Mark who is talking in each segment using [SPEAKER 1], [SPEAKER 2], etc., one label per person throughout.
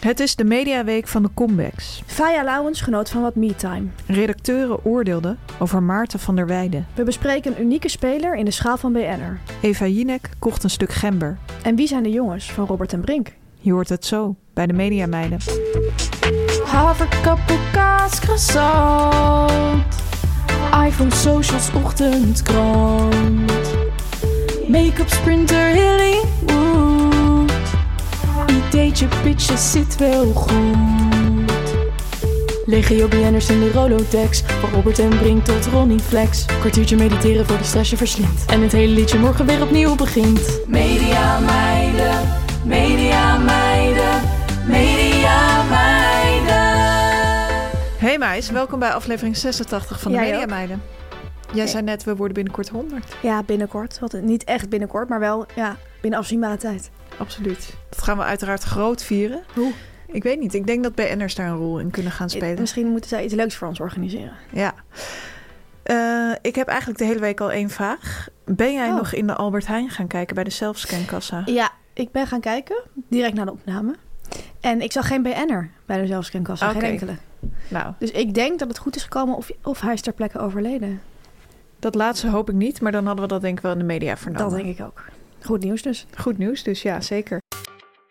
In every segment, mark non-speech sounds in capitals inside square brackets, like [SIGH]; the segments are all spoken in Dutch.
[SPEAKER 1] Het is de mediaweek van de comebacks.
[SPEAKER 2] Faya Lauwens genoot van wat me-time.
[SPEAKER 1] Redacteuren oordeelden over Maarten van der Weijden.
[SPEAKER 2] We bespreken een unieke speler in de schaal van BN'er.
[SPEAKER 1] Eva Jinek kocht een stuk gember.
[SPEAKER 2] En wie zijn de jongens van Robert en Brink?
[SPEAKER 1] Je hoort het zo bij de Mediameiden.
[SPEAKER 3] Haverkappelkaas, croissant. iPhone, socials, ochtendkrant. Make-up, sprinter, Hollywood. Ideetje, pitjes, zit wel goed. Legio BN'ers in de Rolodex. Van Robert en Brink tot Ronnie Flex. Kwartiertje mediteren voor de stress je verslindt. En het hele liedje morgen weer opnieuw begint. Media meiden, media meiden, media meiden.
[SPEAKER 1] Hey meis, welkom bij aflevering 86 van de
[SPEAKER 2] Jij ook.
[SPEAKER 1] Mediameiden. Jij zei net, we worden binnenkort 100.
[SPEAKER 2] Ja, binnenkort. Wat, niet echt binnenkort, maar wel ja, binnen afzienbare tijd.
[SPEAKER 1] Absoluut. Dat gaan we uiteraard groot vieren.
[SPEAKER 2] Hoe?
[SPEAKER 1] Ik weet niet, ik denk dat BN'ers daar een rol in kunnen gaan
[SPEAKER 2] Eh,
[SPEAKER 1] spelen.
[SPEAKER 2] Misschien moeten zij iets leuks voor ons organiseren.
[SPEAKER 1] Ja. Eh, ik heb eigenlijk de hele week al één vraag. Ben jij
[SPEAKER 2] Oh.
[SPEAKER 1] nog in de Albert Heijn gaan kijken bij de zelfscankassa?
[SPEAKER 2] Ja, ik ben gaan kijken, direct na de opname. En ik zag geen BN'er bij de zelfscankassa,
[SPEAKER 1] Oké.
[SPEAKER 2] geen enkele.
[SPEAKER 1] Nou,
[SPEAKER 2] Dus ik denk dat het goed is gekomen of, of hij is ter plekke
[SPEAKER 1] Nou
[SPEAKER 2] overleden.
[SPEAKER 1] dat laatste hoop ik niet, maar dan hadden we dat denk ik wel in de media vernomen.
[SPEAKER 2] Dat denk ik ook. Goed nieuws dus.
[SPEAKER 1] Goed nieuws, dus ja, zeker.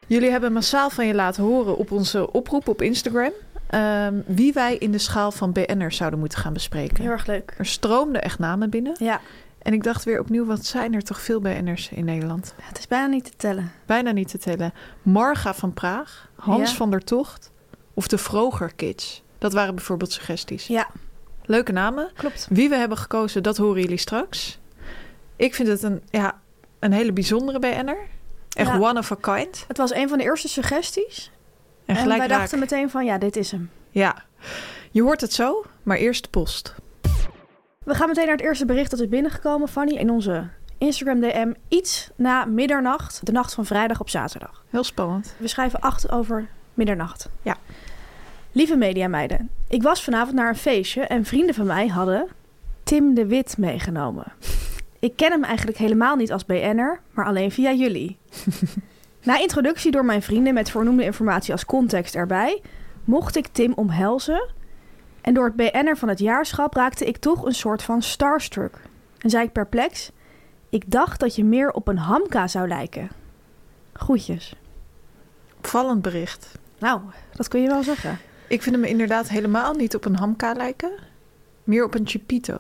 [SPEAKER 1] Jullie hebben massaal van je laten horen op onze oproep op Instagram. ehm, wie wij in de schaal van BN'ers zouden moeten gaan bespreken.
[SPEAKER 2] erg leuk.
[SPEAKER 1] Er stroomden echt namen binnen.
[SPEAKER 2] Ja,
[SPEAKER 1] En ik dacht weer opnieuw, wat zijn er toch veel BN'ers in Nederland?
[SPEAKER 2] het is bijna niet te tellen.
[SPEAKER 1] Bijna niet te tellen. Marga van Praag, Hans
[SPEAKER 2] Ja.
[SPEAKER 1] van der Tocht of de Vroger Kids. Dat waren bijvoorbeeld suggesties.
[SPEAKER 2] Ja,
[SPEAKER 1] Leuke namen.
[SPEAKER 2] klopt.
[SPEAKER 1] Wie we hebben gekozen, dat horen jullie straks. Ik vind het een, ja, een hele bijzondere BN'er. Echt
[SPEAKER 2] Ja.
[SPEAKER 1] one of a kind.
[SPEAKER 2] Het was een van de eerste suggesties.
[SPEAKER 1] En
[SPEAKER 2] En,
[SPEAKER 1] gelijk
[SPEAKER 2] wij
[SPEAKER 1] raak.
[SPEAKER 2] dachten meteen van, ja, dit is hem.
[SPEAKER 1] Ja, je hoort het zo, maar eerst de post.
[SPEAKER 2] We gaan meteen naar het eerste bericht dat is binnengekomen, Fanny, in onze Instagram DM. Iets na middernacht, de nacht van vrijdag op zaterdag.
[SPEAKER 1] Heel spannend.
[SPEAKER 2] We schrijven acht over middernacht.
[SPEAKER 1] Ja.
[SPEAKER 2] Lieve mediameiden, ik was vanavond naar een feestje en vrienden van mij hadden Tim de Wit meegenomen. Ik ken hem eigenlijk helemaal niet als BN'er, maar alleen via jullie. Na introductie door mijn vrienden met voornoemde informatie als context erbij, mocht ik Tim omhelzen. En door het BN'er van het jaarschap raakte ik toch een soort van starstruck. En zei ik perplex, ik dacht dat je meer op een hamka zou lijken. Groetjes.
[SPEAKER 1] Opvallend bericht.
[SPEAKER 2] Nou, dat kun je wel zeggen.
[SPEAKER 1] Ik vind hem inderdaad helemaal niet op een hamka lijken. Meer op een chipito.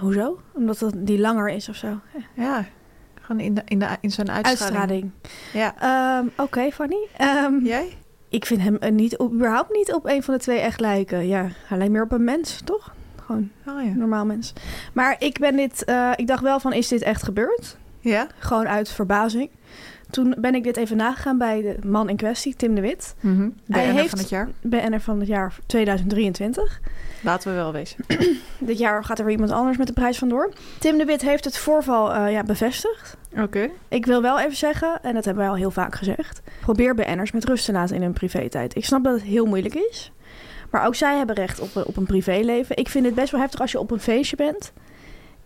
[SPEAKER 2] Hoezo? Omdat dat die langer is of zo.
[SPEAKER 1] Ja, gewoon in, de, in, de, in zijn uitstraling.
[SPEAKER 2] Uitstraling.
[SPEAKER 1] Ja.
[SPEAKER 2] Ehm, Oké, Fanny. Ehm,
[SPEAKER 1] Jij?
[SPEAKER 2] Ik vind hem eh, niet, op- überhaupt niet op een van de twee echt lijken. Ja, hij lijkt meer op een mens, toch? Gewoon
[SPEAKER 1] Oh ja.
[SPEAKER 2] een normaal mens. Maar ik ben dit, eh, ik dacht wel van, is dit echt gebeurd?
[SPEAKER 1] Ja?
[SPEAKER 2] Gewoon uit verbazing. Toen ben ik dit even nagegaan bij de man in kwestie, Tim de Wit.
[SPEAKER 1] Mhm.
[SPEAKER 2] Hij
[SPEAKER 1] BN'er
[SPEAKER 2] heeft-
[SPEAKER 1] van het jaar.
[SPEAKER 2] BN'er van het jaar 2023.
[SPEAKER 1] Laten we wel wezen.
[SPEAKER 2] Dit jaar gaat er weer iemand anders met de prijs vandoor. Tim de Wit heeft het voorval eh, ja, bevestigd.
[SPEAKER 1] Oké.
[SPEAKER 2] Ik wil wel even zeggen, en dat hebben wij al heel vaak gezegd... probeer BN'ers met rust te laten in hun privé-tijd. Ik snap dat het heel moeilijk is. Maar ook zij hebben recht op, eh, op een privéleven. Ik vind het best wel heftig als je op een feestje bent...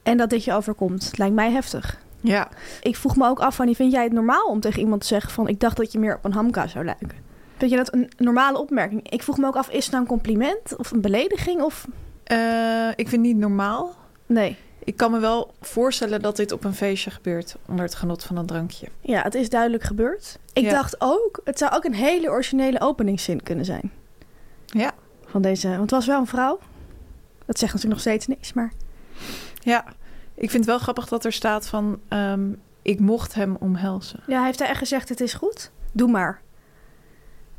[SPEAKER 2] en dat dit je overkomt. Het lijkt mij heftig.
[SPEAKER 1] Ja.
[SPEAKER 2] Ik vroeg me ook af, Fanny, vind jij het normaal om tegen iemand te zeggen... van ik dacht dat je meer op een hamka zou lijken? Vind je dat een normale opmerking? Ik vroeg me ook af, is het nou een compliment of een belediging? Of
[SPEAKER 1] Eh, ik vind het niet normaal.
[SPEAKER 2] nee,
[SPEAKER 1] Ik ik kan me wel voorstellen dat dit op een feestje gebeurt onder het genot van een drankje.
[SPEAKER 2] Ja, het is duidelijk gebeurd. Ik
[SPEAKER 1] Ja.
[SPEAKER 2] dacht ook, het zou ook een hele originele openingszin kunnen zijn.
[SPEAKER 1] Ja.
[SPEAKER 2] Van deze, want het was wel een vrouw. Dat zegt natuurlijk nog steeds niks, maar...
[SPEAKER 1] Ja, ik vind het wel grappig dat er staat van ehm, ik mocht hem omhelzen.
[SPEAKER 2] Ja, hij heeft daar echt gezegd, het is goed. Doe maar.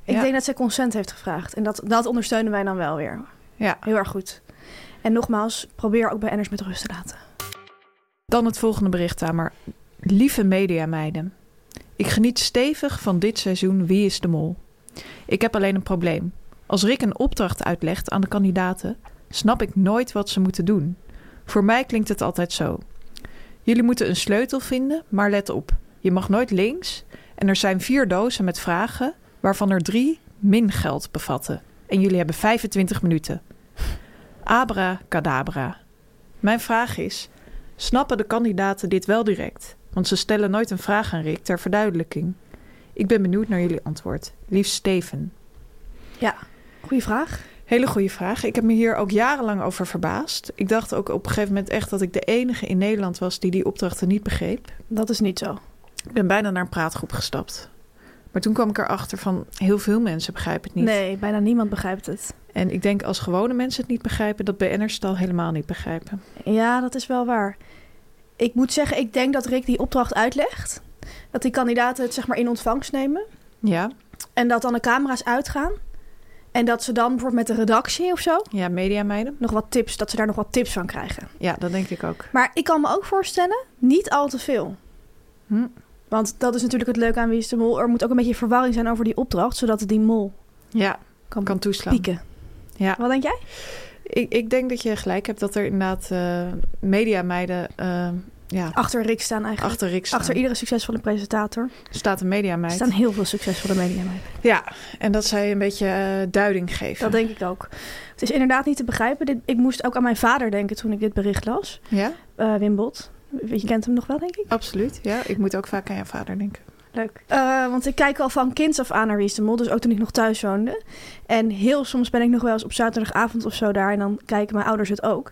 [SPEAKER 2] Ik
[SPEAKER 1] Ja.
[SPEAKER 2] denk dat zij consent heeft gevraagd. En dat, dat ondersteunen wij dan wel weer.
[SPEAKER 1] Ja.
[SPEAKER 2] Heel erg goed. En nogmaals, probeer ook bij Enners met rust te laten.
[SPEAKER 1] Dan het volgende bericht, Tamer. Lieve mediameiden. Ik geniet stevig van dit seizoen Wie is de Mol. Ik heb alleen een probleem. Als Rick een opdracht uitlegt aan de kandidaten, snap ik nooit wat ze moeten doen. Voor mij klinkt het altijd zo. Jullie moeten een sleutel vinden, maar let op. Je mag nooit links en er zijn vier dozen met vragen, waarvan er drie min geld bevatten. En jullie hebben 25 minuten. Abra cadabra. Mijn vraag is, snappen de kandidaten dit wel direct, want ze stellen nooit een vraag aan Rick ter verduidelijking. Ik ben benieuwd naar jullie antwoord. Liefst Steven.
[SPEAKER 2] Ja, goede vraag.
[SPEAKER 1] Hele goede vraag. Ik heb me hier ook jarenlang over verbaasd. Ik dacht ook op een gegeven moment echt dat ik de enige in Nederland was die die opdrachten niet begreep.
[SPEAKER 2] Dat is niet zo.
[SPEAKER 1] Ik ben bijna naar een praatgroep gestapt. Maar toen kwam ik erachter van heel veel mensen begrijpen het niet.
[SPEAKER 2] Nee, bijna niemand begrijpt het.
[SPEAKER 1] En ik denk als gewone mensen het niet begrijpen, dat BN'ers het al helemaal niet begrijpen.
[SPEAKER 2] Ja, dat is wel waar. Ik moet zeggen, ik denk dat Rick die opdracht uitlegt. Dat die kandidaten het zeg maar in ontvangst nemen.
[SPEAKER 1] Ja,
[SPEAKER 2] En dat dan de camera's uitgaan. En dat ze dan bijvoorbeeld met de redactie of zo...
[SPEAKER 1] ja, mediameiden.
[SPEAKER 2] nog wat tips, dat ze daar nog wat tips van krijgen.
[SPEAKER 1] Ja, dat denk ik ook.
[SPEAKER 2] Maar ik kan me ook voorstellen, niet al te veel.
[SPEAKER 1] Hm.
[SPEAKER 2] Want dat is natuurlijk het leuke aan Wie is de Mol. Er moet ook een beetje verwarring zijn over die opdracht, zodat het die mol
[SPEAKER 1] Ja,
[SPEAKER 2] kan,
[SPEAKER 1] kan toeslaan.
[SPEAKER 2] pieken.
[SPEAKER 1] Ja.
[SPEAKER 2] Wat denk jij?
[SPEAKER 1] Ik, ik denk dat je gelijk hebt dat er inderdaad eh mediameiden eh, ja,
[SPEAKER 2] Achter Rick staan eigenlijk.
[SPEAKER 1] achter Rick staan.
[SPEAKER 2] Achter iedere succesvolle presentator
[SPEAKER 1] staat een mediameid.
[SPEAKER 2] staan heel veel succesvolle mediameiden.
[SPEAKER 1] Ja, en dat zij een beetje eh, duiding geven.
[SPEAKER 2] Dat denk ik ook. Het is inderdaad niet te begrijpen. Dit, ik moest ook aan mijn vader denken toen ik dit bericht las.
[SPEAKER 1] Ja,
[SPEAKER 2] Eh Wim Bot. Je kent hem nog wel, denk ik.
[SPEAKER 1] absoluut. Ja, ik moet ook vaak aan je vader denken.
[SPEAKER 2] Leuk. Eh, want ik kijk al van kinds af aan naar Wie is de Mol. Dus ook toen ik nog thuis woonde. En heel soms ben ik nog wel eens op zaterdagavond of zo daar. En dan kijken mijn ouders het ook.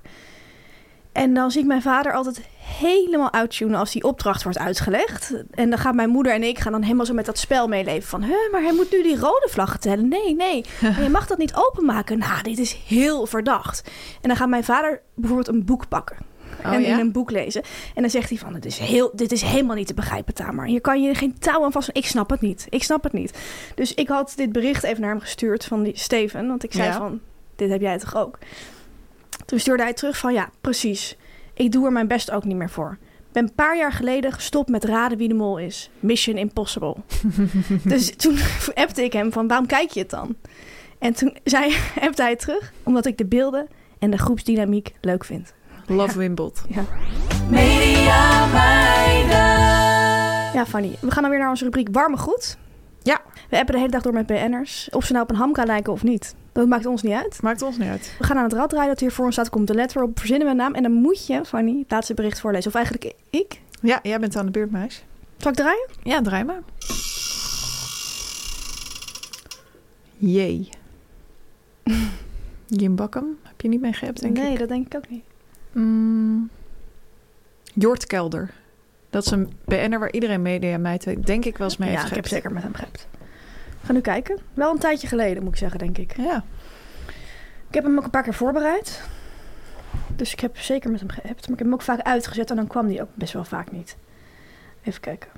[SPEAKER 2] En dan zie ik mijn vader altijd helemaal uittunen als die opdracht wordt uitgelegd. En dan gaan mijn moeder en ik gaan dan helemaal zo met dat spel meeleven. Van, hè, maar hij moet nu die rode vlag tellen. Nee, nee. Maar je mag dat niet openmaken. Nou, dit is heel verdacht. En dan gaat mijn vader bijvoorbeeld een boek pakken
[SPEAKER 1] Oh,
[SPEAKER 2] en
[SPEAKER 1] ja?
[SPEAKER 2] in een boek lezen. En dan zegt hij van, dit is, heel, dit is helemaal niet te begrijpen, Tamar. Je kan je geen touw aan vast. Ik snap het niet. Ik snap het niet. Dus ik had dit bericht even naar hem gestuurd van die Steven. Want ik zei
[SPEAKER 1] Ja.
[SPEAKER 2] van, dit heb jij toch ook? Toen stuurde hij terug van, ja, precies. Ik doe er mijn best ook niet meer voor. Ben een paar jaar geleden gestopt met raden wie de mol is.
[SPEAKER 1] [LAUGHS]
[SPEAKER 2] Mission impossible. dus toen [LAUGHS] appte ik hem van, waarom kijk je het dan? En toen zei, [LAUGHS] appte hij terug, omdat ik de beelden en de groepsdynamiek leuk vind.
[SPEAKER 1] Love Wimbledon.
[SPEAKER 3] Media meiden.
[SPEAKER 2] Ja, Fanny. We gaan dan weer naar onze rubriek Warme Goed.
[SPEAKER 1] Ja.
[SPEAKER 2] We appen de hele dag door met BN'ers. Of ze nou op een hamka lijken of niet. Dat maakt ons niet uit.
[SPEAKER 1] Maakt ons niet uit.
[SPEAKER 2] We gaan aan het rad draaien dat hier voor ons staat. Komt de letter op, verzinnen we een naam. En dan moet je, Fanny, het laatste bericht voorlezen. Of eigenlijk ik.
[SPEAKER 1] Ja, jij bent aan de beurt, meis.
[SPEAKER 2] Zal ik draaien?
[SPEAKER 1] Ja, draai maar.
[SPEAKER 2] [LAUGHS]
[SPEAKER 1] Jee. Jim Bakkum, heb je niet mee geappt, denk
[SPEAKER 2] nee,
[SPEAKER 1] ik?
[SPEAKER 2] dat denk ik ook niet.
[SPEAKER 1] Mm. Jort Kelder. Dat is een BN'er waar iedereen media meid denk ik wel eens mee
[SPEAKER 2] ja,
[SPEAKER 1] heeft
[SPEAKER 2] ik heb
[SPEAKER 1] gehad.
[SPEAKER 2] zeker met hem geappt. We gaan nu kijken. Wel een tijdje geleden, moet ik zeggen, denk ik.
[SPEAKER 1] Ja,
[SPEAKER 2] Ik heb hem ook een paar keer voorbereid. Dus ik heb zeker met hem geappt. Maar ik heb hem ook vaak uitgezet en dan kwam hij ook best wel vaak niet. Even kijken.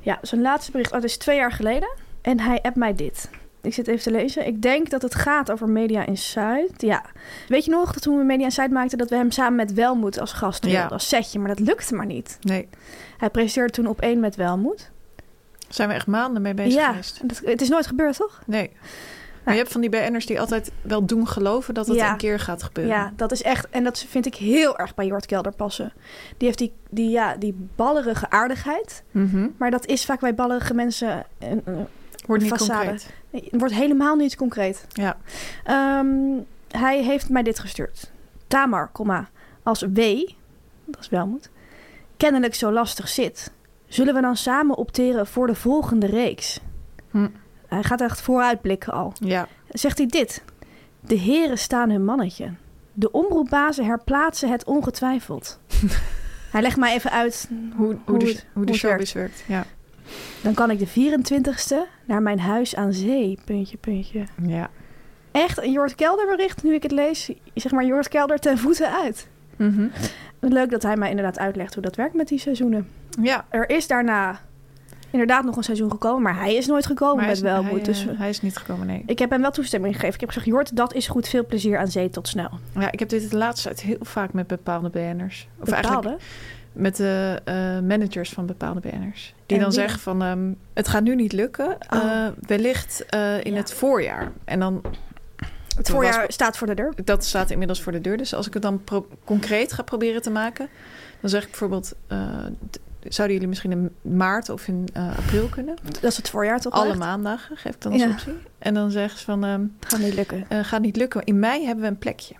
[SPEAKER 2] Ja, zijn laatste bericht. Oh, dat is twee jaar geleden. En hij appt mij dit. Ik zit even te lezen. Ik denk dat het gaat over Media Insight. Ja. Weet je nog dat toen we Media Insight maakten... dat we hem samen met Welmoed als gast wilden,
[SPEAKER 1] Ja.
[SPEAKER 2] als setje. Maar dat lukte maar niet.
[SPEAKER 1] nee.
[SPEAKER 2] Hij presenteerde toen op één met Welmoed.
[SPEAKER 1] Zijn we echt maanden mee bezig
[SPEAKER 2] ja,
[SPEAKER 1] geweest?
[SPEAKER 2] en dat- het is nooit gebeurd, toch?
[SPEAKER 1] Nee. Maar je hebt van die BN'ers die altijd wel doen geloven dat het
[SPEAKER 2] Ja.
[SPEAKER 1] een keer gaat gebeuren.
[SPEAKER 2] Ja, dat is echt. En dat vind ik heel erg bij Jort Kelder passen. Die heeft die, die, ja, die ballerige aardigheid.
[SPEAKER 1] Mhm.
[SPEAKER 2] Maar dat is vaak bij ballerige mensen. een- een-
[SPEAKER 1] Wordt niet
[SPEAKER 2] Façade.
[SPEAKER 1] concreet.
[SPEAKER 2] Het wordt helemaal niet concreet.
[SPEAKER 1] Ja.
[SPEAKER 2] Ehm, hij heeft mij dit gestuurd. Tamar, komma, als W, dat is wel moet, kennelijk zo lastig zit, zullen we dan samen opteren voor de volgende reeks?
[SPEAKER 1] Hm.
[SPEAKER 2] Hij gaat echt vooruitblikken al
[SPEAKER 1] Ja.
[SPEAKER 2] zegt hij dit.
[SPEAKER 1] [LAUGHS]
[SPEAKER 2] De heren staan hun mannetje. De omroepbazen herplaatsen het ongetwijfeld. Hij legt mij even uit hoe,
[SPEAKER 1] Hoe de,
[SPEAKER 2] het-
[SPEAKER 1] hoe de
[SPEAKER 2] het
[SPEAKER 1] showbiz werkt. Ja.
[SPEAKER 2] werkt. Dan kan ik de 24ste naar mijn huis aan zee, puntje, puntje.
[SPEAKER 1] ja.
[SPEAKER 2] Echt een Jort Kelder bericht, nu ik het lees. Zeg maar Jort Kelder ten voeten uit.
[SPEAKER 1] Mhm.
[SPEAKER 2] Leuk dat hij mij inderdaad uitlegt hoe dat werkt met die seizoenen.
[SPEAKER 1] ja.
[SPEAKER 2] Er is daarna inderdaad nog een seizoen gekomen, maar hij is nooit gekomen
[SPEAKER 1] Maar hij
[SPEAKER 2] Oh, met
[SPEAKER 1] is,
[SPEAKER 2] welmoed.
[SPEAKER 1] hij, eh,
[SPEAKER 2] dus
[SPEAKER 1] hij is niet gekomen, nee.
[SPEAKER 2] ik heb hem wel toestemming gegeven. Ik heb gezegd, Jort, dat is goed. Veel plezier aan zee. Tot snel.
[SPEAKER 1] Ja, ik heb dit de laatste tijd heel vaak met bepaalde BN'ers. Of eigenlijk
[SPEAKER 2] Bepaalde.
[SPEAKER 1] met de eh, managers van bepaalde BN'ers. Die
[SPEAKER 2] En
[SPEAKER 1] dan
[SPEAKER 2] wie?
[SPEAKER 1] zeggen van, ehm, het gaat nu niet lukken. eh, wellicht eh, in
[SPEAKER 2] Ja.
[SPEAKER 1] het voorjaar. En dan,
[SPEAKER 2] Het
[SPEAKER 1] Toen was-
[SPEAKER 2] voorjaar staat voor de deur.
[SPEAKER 1] dat staat inmiddels voor de deur. Dus als ik het dan pro- concreet ga proberen te maken... dan zeg ik bijvoorbeeld, eh, d- zouden jullie misschien in maart of in eh, april kunnen?
[SPEAKER 2] Dat is het voorjaar toch?
[SPEAKER 1] Alle
[SPEAKER 2] echt?
[SPEAKER 1] maandagen geef ik dan als
[SPEAKER 2] Ja.
[SPEAKER 1] optie. En dan zeggen ze van, ehm,
[SPEAKER 2] Gaat niet lukken.
[SPEAKER 1] eh, gaat niet lukken. In mei hebben we een plekje.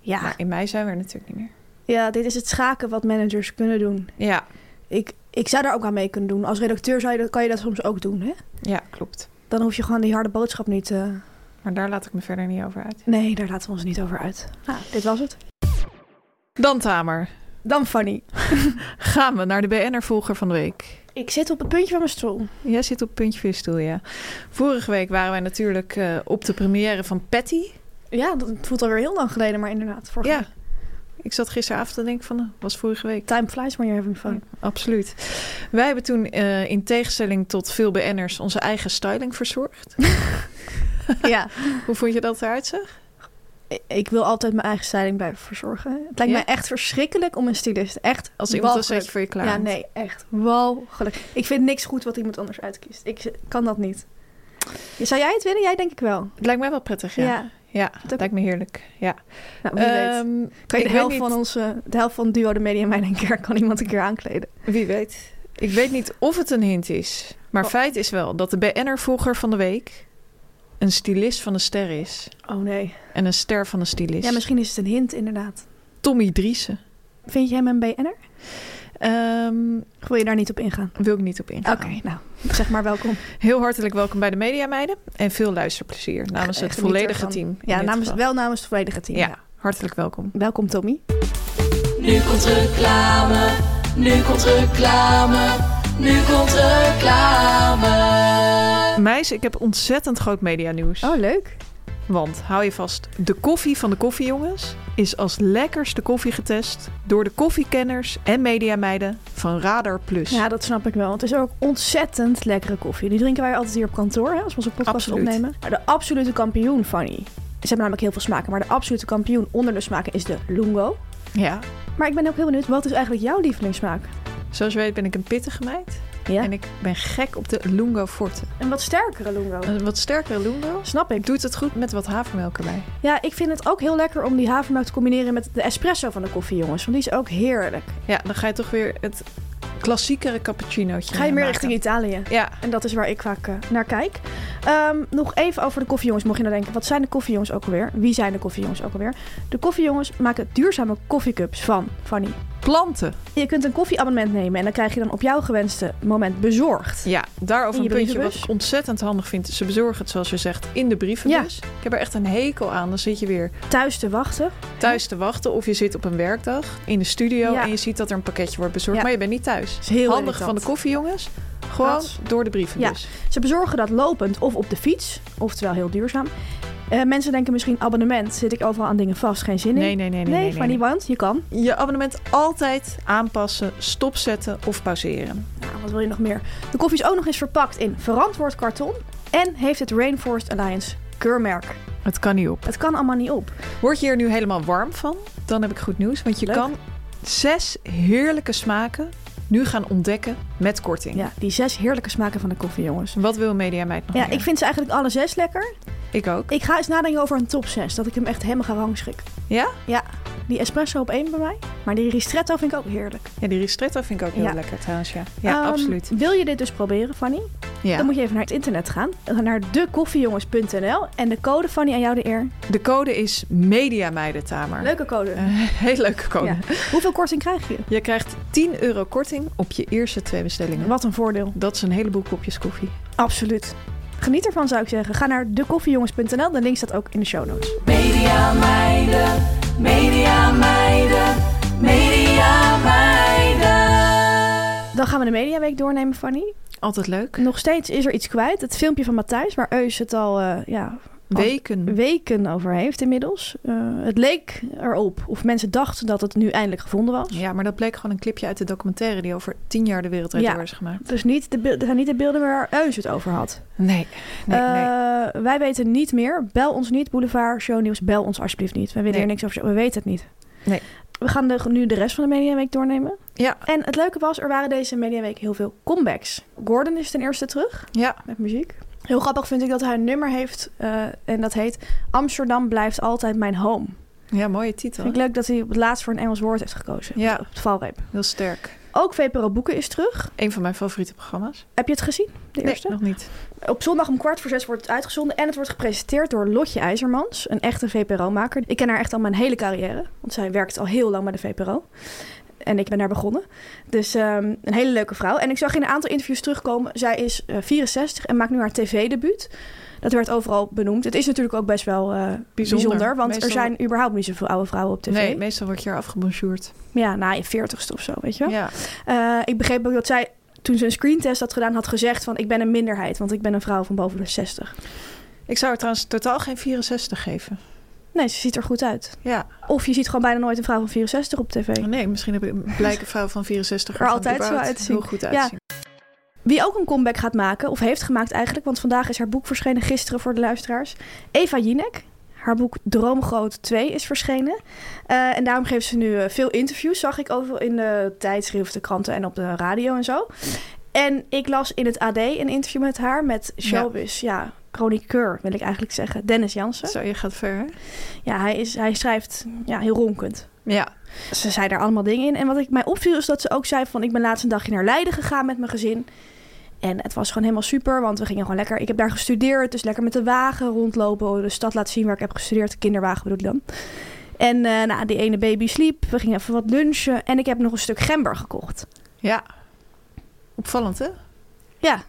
[SPEAKER 2] Ja.
[SPEAKER 1] Maar in mei zijn we er natuurlijk niet meer.
[SPEAKER 2] ja, dit is het schaken wat managers kunnen doen.
[SPEAKER 1] Ja,
[SPEAKER 2] Ik, ik zou daar ook aan mee kunnen doen. Als redacteur zou je dat, kan je dat soms ook doen. Hè?
[SPEAKER 1] ja klopt.
[SPEAKER 2] Dan hoef je gewoon die harde boodschap niet... eh,
[SPEAKER 1] Maar daar laat ik me verder niet over uit.
[SPEAKER 2] Nee, daar laten we ons niet over uit. Nou, dit was het.
[SPEAKER 1] Dan Tamer,
[SPEAKER 2] Dan Fanny.
[SPEAKER 1] [LAUGHS] gaan we naar de BN'er-volger van de week.
[SPEAKER 2] Ik zit op het puntje van mijn stoel.
[SPEAKER 1] Jij zit op het puntje van je stoel, ja. Vorige week waren wij natuurlijk eh, op de première van Patty.
[SPEAKER 2] Ja, dat het voelt alweer heel lang geleden, maar inderdaad. Vorige
[SPEAKER 1] Ja.
[SPEAKER 2] week.
[SPEAKER 1] Ik zat gisteravond te denken van, eh, was vorige week.
[SPEAKER 2] Time flies when you're having
[SPEAKER 1] [LAUGHS]
[SPEAKER 2] fun.
[SPEAKER 1] Absoluut. Wij hebben toen eh, in tegenstelling tot veel BN'ers onze eigen styling
[SPEAKER 2] [LAUGHS]
[SPEAKER 1] verzorgd.
[SPEAKER 2] ja.
[SPEAKER 1] Hoe vond je dat eruit zag?
[SPEAKER 2] [LAUGHS] Ik- Ik wil altijd mijn eigen styling blijven verzorgen. Het lijkt
[SPEAKER 1] Ja?
[SPEAKER 2] mij echt verschrikkelijk om een stylist. Echt
[SPEAKER 1] Als iemand een
[SPEAKER 2] walgelijk.
[SPEAKER 1] setje voor je klaar
[SPEAKER 2] Ja,
[SPEAKER 1] heeft.
[SPEAKER 2] nee, echt walgelijk. Ik vind niks goed wat iemand anders uitkiest. Ik z- kan dat niet. Ja, Zou jij het willen? Jij denk ik wel.
[SPEAKER 1] Het lijkt mij wel prettig, ja.
[SPEAKER 2] Ja.
[SPEAKER 1] Ja,
[SPEAKER 2] ook-
[SPEAKER 1] lijkt me heerlijk. Ja.
[SPEAKER 2] Nou, wie weet.
[SPEAKER 1] Ehm,
[SPEAKER 2] Kan je
[SPEAKER 1] ik
[SPEAKER 2] de
[SPEAKER 1] weet
[SPEAKER 2] helft,
[SPEAKER 1] niet-
[SPEAKER 2] van onze, de helft van Duo de Media Mijn een keer kan iemand een keer aankleden.
[SPEAKER 1] Wie weet. Ik weet niet of het een hint is. Maar
[SPEAKER 2] Oh.
[SPEAKER 1] feit is wel dat de BN'er-volger van de week... een stylist van de ster is.
[SPEAKER 2] Oh nee.
[SPEAKER 1] En een ster van de stylist.
[SPEAKER 2] Ja, misschien is het een hint inderdaad.
[SPEAKER 1] Tommy Driessen.
[SPEAKER 2] Vind je hem een BN'er?
[SPEAKER 1] Ehm,
[SPEAKER 2] Of wil je daar niet op ingaan?
[SPEAKER 1] wil ik niet op ingaan.
[SPEAKER 2] Oké, nou, zeg maar welkom.
[SPEAKER 1] Heel hartelijk welkom bij de Media Meiden. En veel luisterplezier namens het
[SPEAKER 2] Echt geniet
[SPEAKER 1] volledige
[SPEAKER 2] ervan.
[SPEAKER 1] team. in
[SPEAKER 2] Ja,
[SPEAKER 1] dit
[SPEAKER 2] namens,
[SPEAKER 1] geval.
[SPEAKER 2] wel namens het volledige team.
[SPEAKER 1] Ja.
[SPEAKER 2] ja.
[SPEAKER 1] Hartelijk welkom.
[SPEAKER 2] Welkom Tommy.
[SPEAKER 3] Nu komt reclame, nu komt reclame, nu komt reclame.
[SPEAKER 1] Meis, ik heb ontzettend groot medianieuws.
[SPEAKER 2] Oh, leuk.
[SPEAKER 1] Want hou je vast, de koffie van de koffiejongens is als lekkerste koffie getest door de koffiekenners en mediameiden van Radar Plus.
[SPEAKER 2] Ja, dat snap ik wel. Het is ook ontzettend lekkere koffie. Die drinken wij altijd hier op kantoor, hè, als we onze podcast
[SPEAKER 1] Absoluut.
[SPEAKER 2] opnemen. Maar de absolute kampioen, Fanny. Ze hebben namelijk heel veel smaken, maar de absolute kampioen onder de smaken is de Lungo.
[SPEAKER 1] Ja.
[SPEAKER 2] Maar ik ben ook heel benieuwd, wat is eigenlijk jouw lievelingssmaak?
[SPEAKER 1] Zoals je weet ben ik een pittige meid
[SPEAKER 2] Ja.
[SPEAKER 1] en ik ben gek op de Lungo Forte.
[SPEAKER 2] Een wat sterkere Lungo.
[SPEAKER 1] Een wat sterkere Lungo
[SPEAKER 2] Snap ik.
[SPEAKER 1] doet het goed met wat havermelk erbij.
[SPEAKER 2] Ja, ik vind het ook heel lekker om die havermelk te combineren met de espresso van de koffie, jongens. Want die is ook heerlijk.
[SPEAKER 1] Ja, dan ga je toch weer het klassiekere cappuccinootje
[SPEAKER 2] Ga je meer
[SPEAKER 1] maken.
[SPEAKER 2] richting Italië?
[SPEAKER 1] Ja,
[SPEAKER 2] En dat is waar ik vaak eh, naar kijk. Ehm, nog even over de koffiejongens. Mocht je nou denken, wat zijn de koffiejongens ook alweer? Wie zijn de koffiejongens ook alweer? De koffiejongens maken duurzame koffiecups van Fanny.
[SPEAKER 1] planten.
[SPEAKER 2] Je kunt een koffieabonnement nemen en dan krijg je dan op jouw gewenste moment bezorgd.
[SPEAKER 1] Ja, daarover
[SPEAKER 2] In
[SPEAKER 1] een
[SPEAKER 2] je
[SPEAKER 1] puntje wat
[SPEAKER 2] brievenbus?
[SPEAKER 1] ik ontzettend handig vind. Ze bezorgen het, zoals je zegt, in de brievenbus. Ik heb er echt een hekel aan. Dan zit je weer
[SPEAKER 2] Thuis te wachten.
[SPEAKER 1] thuis te wachten of je zit op een werkdag in de studio
[SPEAKER 2] Ja.
[SPEAKER 1] en je ziet dat er een pakketje wordt bezorgd,
[SPEAKER 2] Ja.
[SPEAKER 1] maar je bent niet thuis.
[SPEAKER 2] is heel
[SPEAKER 1] handig
[SPEAKER 2] irritant.
[SPEAKER 1] van de koffie, jongens. Gewoon
[SPEAKER 2] Dat-
[SPEAKER 1] door de brievenbus.
[SPEAKER 2] Ze bezorgen dat lopend of op de fiets. Oftewel heel duurzaam. Eh, mensen denken misschien abonnement. Zit ik overal aan dingen vast? Geen zin in?
[SPEAKER 1] Nee, nee, nee, nee, nee,
[SPEAKER 2] Fanny,
[SPEAKER 1] nee.
[SPEAKER 2] want je kan.
[SPEAKER 1] Je abonnement altijd aanpassen, stopzetten of pauzeren.
[SPEAKER 2] Nou, wat wil je nog meer? De koffie is ook nog eens verpakt in verantwoord karton. En heeft het Rainforest Alliance keurmerk.
[SPEAKER 1] Het kan niet op.
[SPEAKER 2] Het kan allemaal niet op.
[SPEAKER 1] Word je er nu helemaal warm van? Dan heb ik goed nieuws, want je
[SPEAKER 2] Leuk.
[SPEAKER 1] kan zes heerlijke smaken nu gaan ontdekken met korting.
[SPEAKER 2] Ja, die zes heerlijke smaken van de koffie, jongens.
[SPEAKER 1] Wat wil Media Meid nog
[SPEAKER 2] Ja,
[SPEAKER 1] meer?
[SPEAKER 2] ik vind ze eigenlijk alle zes lekker.
[SPEAKER 1] ik ook.
[SPEAKER 2] Ik ga eens nadenken over een top 6, dat ik hem echt helemaal ga rangschikken.
[SPEAKER 1] Ja?
[SPEAKER 2] Ja, die espresso op één bij mij. Maar die ristretto vind ik ook heerlijk.
[SPEAKER 1] Ja, die ristretto vind ik ook heel
[SPEAKER 2] Ja.
[SPEAKER 1] lekker trouwens, ja. Ja,
[SPEAKER 2] Ehm,
[SPEAKER 1] absoluut.
[SPEAKER 2] Wil je dit dus proberen, Fanny?
[SPEAKER 1] Ja.
[SPEAKER 2] Dan moet je even naar het internet gaan. Naar dekoffiejongens.nl. En de code, Fanny, aan jou de eer.
[SPEAKER 1] De code is MEDIAMEIDENTAMER.
[SPEAKER 2] Leuke code.
[SPEAKER 1] [LAUGHS] Heel leuke code.
[SPEAKER 2] Ja. Hoeveel korting krijg je?
[SPEAKER 1] Je krijgt 10 euro korting op je eerste twee bestellingen.
[SPEAKER 2] Wat een voordeel.
[SPEAKER 1] Dat is een heleboel kopjes koffie.
[SPEAKER 2] Absoluut. Geniet ervan, zou ik zeggen. Ga naar dekoffiejongens.nl. De link staat ook in de show notes.
[SPEAKER 3] Media meiden, media meiden, media
[SPEAKER 2] Dan gaan we de mediaweek doornemen, Fanny.
[SPEAKER 1] Altijd leuk.
[SPEAKER 2] Nog steeds is er iets kwijt. Het filmpje van Matthijs, waar Eus het al eh, ja,
[SPEAKER 1] Weken.
[SPEAKER 2] weken over heeft inmiddels. Eh, het leek erop, of mensen dachten dat het nu eindelijk gevonden was.
[SPEAKER 1] Ja, maar dat bleek gewoon een clipje uit de documentaire die over tien jaar de wereldwijd
[SPEAKER 2] Ja.
[SPEAKER 1] door is gemaakt.
[SPEAKER 2] Dus niet de, beeld- dat zijn niet de beelden waar Eus het over had.
[SPEAKER 1] Nee, nee, nee.
[SPEAKER 2] Eh, wij weten niet meer. Bel ons niet, Boulevard, Shownieuws. Bel ons alsjeblieft niet. We weten
[SPEAKER 1] Nee.
[SPEAKER 2] hier niks over. We weten het niet.
[SPEAKER 1] Nee.
[SPEAKER 2] We gaan de, nu de rest van de Mediaweek doornemen.
[SPEAKER 1] Ja,
[SPEAKER 2] En het leuke was, er waren deze Mediaweek heel veel comebacks. Gordon is ten eerste terug
[SPEAKER 1] ja.
[SPEAKER 2] met muziek. Heel grappig vind ik dat hij een nummer heeft eh, en dat heet Amsterdam blijft altijd mijn home.
[SPEAKER 1] ja mooie titel.
[SPEAKER 2] Vind ik
[SPEAKER 1] hè?
[SPEAKER 2] leuk dat hij op het laatst voor een Engels woord heeft gekozen.
[SPEAKER 1] Ja.
[SPEAKER 2] Op de valreep.
[SPEAKER 1] Heel sterk.
[SPEAKER 2] Ook VPRO Boeken is terug.
[SPEAKER 1] Een van mijn favoriete programma's.
[SPEAKER 2] Heb je het gezien? De
[SPEAKER 1] Nee,
[SPEAKER 2] eerste?
[SPEAKER 1] nog niet.
[SPEAKER 2] Op zondag om kwart voor zes wordt het uitgezonden en het wordt gepresenteerd door Lotje IJzermans, een echte VPRO-maker. Ik ken haar echt al mijn hele carrière, want zij werkt al heel lang bij de VPRO. En ik ben daar begonnen. Dus ehm, een hele leuke vrouw. En ik zag in een aantal interviews terugkomen, zij is eh, 64 en maakt nu haar tv-debuut. Dat werd overal benoemd. Het is natuurlijk ook best wel eh, bijzonder, want
[SPEAKER 1] Meestal-
[SPEAKER 2] er zijn überhaupt niet zoveel oude vrouwen op tv.
[SPEAKER 1] Nee, meestal word je er afgebonjourd.
[SPEAKER 2] Ja, na je 40ste of zo, weet je wel.
[SPEAKER 1] Ja.
[SPEAKER 2] Eh, ik begreep ook dat zij toen ze een screentest had gedaan, had gezegd van ik ben een minderheid, want ik ben een vrouw van boven de 60.
[SPEAKER 1] Ik zou er trouwens totaal geen 64 geven.
[SPEAKER 2] Nee, ze ziet er goed uit.
[SPEAKER 1] Ja.
[SPEAKER 2] Of je ziet gewoon bijna nooit een vrouw van 64 op tv.
[SPEAKER 1] Nee, misschien heb ik een blijke vrouw van 64
[SPEAKER 2] [LAUGHS] Er
[SPEAKER 1] van
[SPEAKER 2] altijd zo
[SPEAKER 1] überhaupt
[SPEAKER 2] uitzien.
[SPEAKER 1] Heel goed
[SPEAKER 2] Ja.
[SPEAKER 1] uitzien.
[SPEAKER 2] Wie ook een comeback gaat maken, of heeft gemaakt eigenlijk... want vandaag is haar boek verschenen, gisteren voor de luisteraars. Eva Jinek. Haar boek Droomgroot 2 is verschenen. Eh, en daarom geeft ze nu eh, veel interviews, zag ik overal in de tijdschriften, kranten en op de radio en zo. En ik las in het AD een interview met haar met showbiz, ja, chroniqueur wil ik eigenlijk zeggen, Dennis Jansen.
[SPEAKER 1] Zo, je gaat ver, hè?
[SPEAKER 2] Ja, hij, is, hij schrijft ja, heel ronkend.
[SPEAKER 1] Ja.
[SPEAKER 2] ze zei daar allemaal dingen in. En wat ik mij opviel is dat ze ook zei van... ik ben laatst een dagje naar Leiden gegaan met mijn gezin. En het was gewoon helemaal super, want we gingen gewoon lekker... Ik heb daar gestudeerd, dus lekker met de wagen rondlopen. Oh, De stad laten zien waar ik heb gestudeerd. Kinderwagen bedoel ik dan. En eh, nou, die ene baby sliep. We gingen even wat lunchen. En ik heb nog een stuk gember gekocht.
[SPEAKER 1] Ja. Opvallend, hè?
[SPEAKER 2] Ja,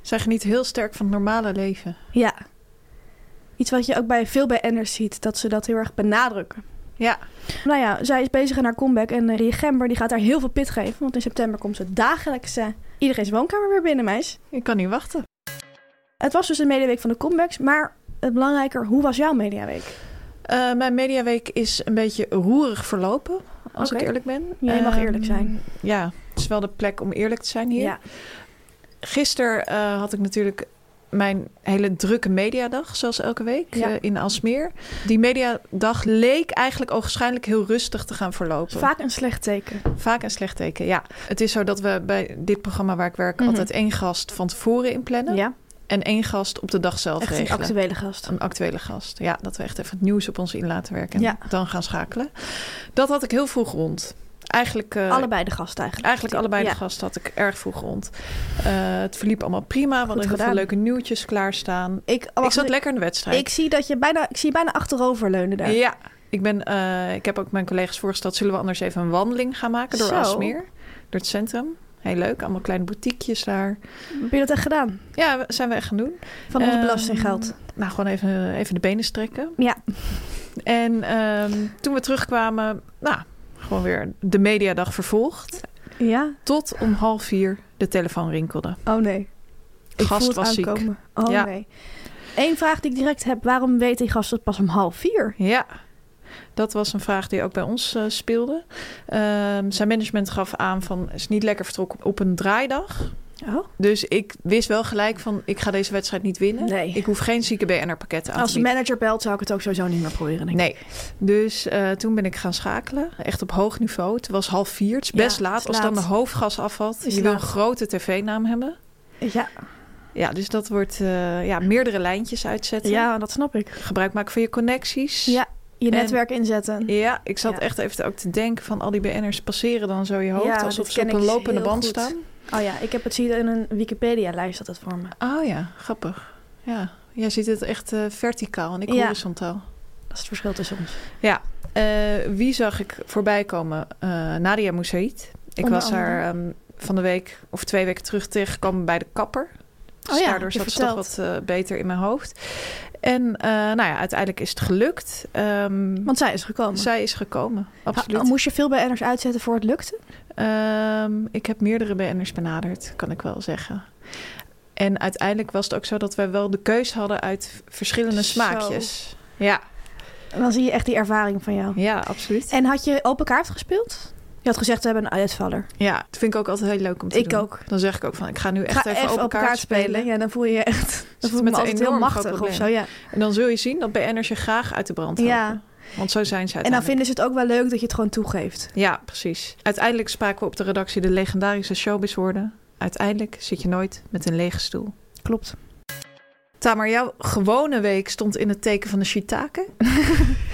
[SPEAKER 1] Zij geniet heel sterk van het normale leven.
[SPEAKER 2] ja. Iets wat je ook bij veel BN'ers ziet, dat ze dat heel erg benadrukken.
[SPEAKER 1] Ja.
[SPEAKER 2] Nou ja, zij is bezig aan haar comeback en eh, die gember die gaat haar heel veel pit geven. Want in september komt ze dagelijks eh, iedereen's woonkamer weer binnen, meis.
[SPEAKER 1] Ik kan niet wachten.
[SPEAKER 2] Het was dus een mediaweek van de comebacks, maar het belangrijker, hoe was jouw mediaweek?
[SPEAKER 1] Eh, mijn mediaweek is een beetje roerig verlopen, als
[SPEAKER 2] Oké.
[SPEAKER 1] ik eerlijk ben.
[SPEAKER 2] Ja, je mag
[SPEAKER 1] Ehm,
[SPEAKER 2] eerlijk zijn.
[SPEAKER 1] Ja, het is wel de plek om eerlijk te zijn hier.
[SPEAKER 2] Ja.
[SPEAKER 1] Gisteren eh, had ik natuurlijk mijn hele drukke mediadag, zoals elke week,
[SPEAKER 2] Ja.
[SPEAKER 1] eh, in Alsmeer. Die mediadag leek eigenlijk ogenschijnlijk heel rustig te gaan verlopen.
[SPEAKER 2] Vaak een slecht teken.
[SPEAKER 1] Vaak een slecht teken, ja. Het is zo dat we bij dit programma waar ik werk...
[SPEAKER 2] Mhm.
[SPEAKER 1] altijd één gast van tevoren inplannen...
[SPEAKER 2] Ja,
[SPEAKER 1] en één gast op de dag zelf
[SPEAKER 2] echt een
[SPEAKER 1] regelen.
[SPEAKER 2] actuele gast.
[SPEAKER 1] Een actuele gast. Ja, dat we echt even het nieuws op ons in laten werken. En
[SPEAKER 2] Ja.
[SPEAKER 1] dan gaan schakelen. Dat had ik heel vroeg rond. Eigenlijk, eh,
[SPEAKER 2] Allebei de gasten eigenlijk.
[SPEAKER 1] eigenlijk allebei
[SPEAKER 2] Ja.
[SPEAKER 1] de gasten had ik erg vroeg rond. Eh, het verliep allemaal prima. We hadden heel
[SPEAKER 2] gedaan.
[SPEAKER 1] veel leuke nieuwtjes klaarstaan.
[SPEAKER 2] Ik,
[SPEAKER 1] ik
[SPEAKER 2] wacht,
[SPEAKER 1] zat lekker in de wedstrijd.
[SPEAKER 2] Ik zie dat je bijna, ik zie je bijna achterover leunen daar.
[SPEAKER 1] Ja, ik, ben, eh, ik heb ook mijn collega's voorgesteld... zullen we anders even een wandeling gaan maken door
[SPEAKER 2] Zo.
[SPEAKER 1] Alsmeer? Door het centrum. Heel leuk, allemaal kleine boutiquejes daar.
[SPEAKER 2] Heb je dat echt gedaan?
[SPEAKER 1] Ja, we- zijn we echt gaan doen.
[SPEAKER 2] Van ons
[SPEAKER 1] Ehm,
[SPEAKER 2] belastinggeld.
[SPEAKER 1] Nou, gewoon even, even de benen strekken.
[SPEAKER 2] Ja.
[SPEAKER 1] En ehm, toen we terugkwamen, nou, gewoon weer de mediadag vervolgd.
[SPEAKER 2] Ja?
[SPEAKER 1] Tot om half vier de telefoon rinkelde.
[SPEAKER 2] Oh nee. Ik
[SPEAKER 1] Gast
[SPEAKER 2] voel het
[SPEAKER 1] was ziek.
[SPEAKER 2] aankomen. Oh
[SPEAKER 1] Ja.
[SPEAKER 2] nee. Eén vraag die ik direct heb. Waarom weet die gast het pas om half vier?
[SPEAKER 1] Ja, dat was een vraag die ook bij ons eh, speelde. Ehm, zijn management gaf aan van, is niet lekker vertrokken op een draaidag.
[SPEAKER 2] Oh.
[SPEAKER 1] Dus ik wist wel gelijk van, ik ga deze wedstrijd niet winnen.
[SPEAKER 2] Nee.
[SPEAKER 1] Ik hoef geen zieke BNR-pakketten aan
[SPEAKER 2] Als
[SPEAKER 1] te
[SPEAKER 2] de
[SPEAKER 1] bieden.
[SPEAKER 2] manager belt, zou ik het ook sowieso niet meer proberen. Denk ik.
[SPEAKER 1] Nee. Dus eh, toen ben ik gaan schakelen. Echt op hoog niveau. Het was half vier. Het is
[SPEAKER 2] Ja,
[SPEAKER 1] best laat.
[SPEAKER 2] het is
[SPEAKER 1] Als dan de
[SPEAKER 2] laat.
[SPEAKER 1] hoofdgas afvalt.
[SPEAKER 2] Is
[SPEAKER 1] Je wil een
[SPEAKER 2] laat.
[SPEAKER 1] grote tv-naam hebben.
[SPEAKER 2] Ja.
[SPEAKER 1] Ja, dus dat wordt eh, ja, meerdere lijntjes uitzetten.
[SPEAKER 2] ja, dat snap ik.
[SPEAKER 1] Gebruik maken van je connecties.
[SPEAKER 2] Ja, je
[SPEAKER 1] En-
[SPEAKER 2] netwerk inzetten.
[SPEAKER 1] Ja, ik zat
[SPEAKER 2] Ja.
[SPEAKER 1] echt even te- ook te denken van al die BN'ers passeren dan zo je hoofd.
[SPEAKER 2] Ja,
[SPEAKER 1] alsof
[SPEAKER 2] dit
[SPEAKER 1] ze
[SPEAKER 2] ken
[SPEAKER 1] op een
[SPEAKER 2] ik
[SPEAKER 1] lopende
[SPEAKER 2] heel
[SPEAKER 1] band
[SPEAKER 2] goed.
[SPEAKER 1] staan.
[SPEAKER 2] Oh ja, ik heb het zien in een Wikipedia-lijst dat het voor me.
[SPEAKER 1] Oh ja, grappig. Ja, jij ziet het echt eh, verticaal en ik
[SPEAKER 2] Ja.
[SPEAKER 1] horizontaal.
[SPEAKER 2] Dat is het verschil tussen ons.
[SPEAKER 1] Ja, eh, wie zag ik voorbij komen? Eh, Nadia Moussaïd. Ik
[SPEAKER 2] Onder
[SPEAKER 1] was haar ehm, van de week of twee weken terug tegengekomen bij de kapper. Dus
[SPEAKER 2] Oh ja,
[SPEAKER 1] daardoor
[SPEAKER 2] je
[SPEAKER 1] zat ze toch wat eh, beter in mijn hoofd. En eh, nou ja, uiteindelijk is het gelukt. Ehm,
[SPEAKER 2] Want zij is gekomen.
[SPEAKER 1] zij is gekomen, absoluut.
[SPEAKER 2] Ah, Moest je veel BN'ers uitzetten voor het lukte?
[SPEAKER 1] Ehm, ik heb meerdere BN'ers benaderd, kan ik wel zeggen. En uiteindelijk was het ook zo dat wij wel de keus hadden uit verschillende
[SPEAKER 2] Zo.
[SPEAKER 1] smaakjes. Ja,
[SPEAKER 2] En dan zie je echt die ervaring van jou.
[SPEAKER 1] ja, absoluut.
[SPEAKER 2] En had je open kaart gespeeld? Je had gezegd, we hebben een uitvaller.
[SPEAKER 1] Ja, dat vind ik ook altijd heel leuk om te
[SPEAKER 2] Ik
[SPEAKER 1] doen.
[SPEAKER 2] ook.
[SPEAKER 1] Dan zeg ik ook van, ik ga nu
[SPEAKER 2] Ik
[SPEAKER 1] echt
[SPEAKER 2] ga
[SPEAKER 1] even, open kaart, spelen.
[SPEAKER 2] Ja, dan voel je je echt...
[SPEAKER 1] Zit
[SPEAKER 2] Dan voel
[SPEAKER 1] met
[SPEAKER 2] ik me
[SPEAKER 1] een
[SPEAKER 2] altijd heel
[SPEAKER 1] enorm groot
[SPEAKER 2] machtig of zo,
[SPEAKER 1] probleem.
[SPEAKER 2] ja.
[SPEAKER 1] En dan zul je zien dat BN'ers je graag uit de brand
[SPEAKER 2] ja.
[SPEAKER 1] helpen. Want zo zijn ze uiteindelijk.
[SPEAKER 2] En dan vinden ze het ook wel leuk dat je het gewoon toegeeft.
[SPEAKER 1] Ja, precies. Uiteindelijk spraken we op de redactie de legendarische showbizwoorden. Uiteindelijk zit je nooit met een lege stoel.
[SPEAKER 2] Klopt.
[SPEAKER 1] Tamer, jouw gewone week stond in het teken van de [LAUGHS] shiitake.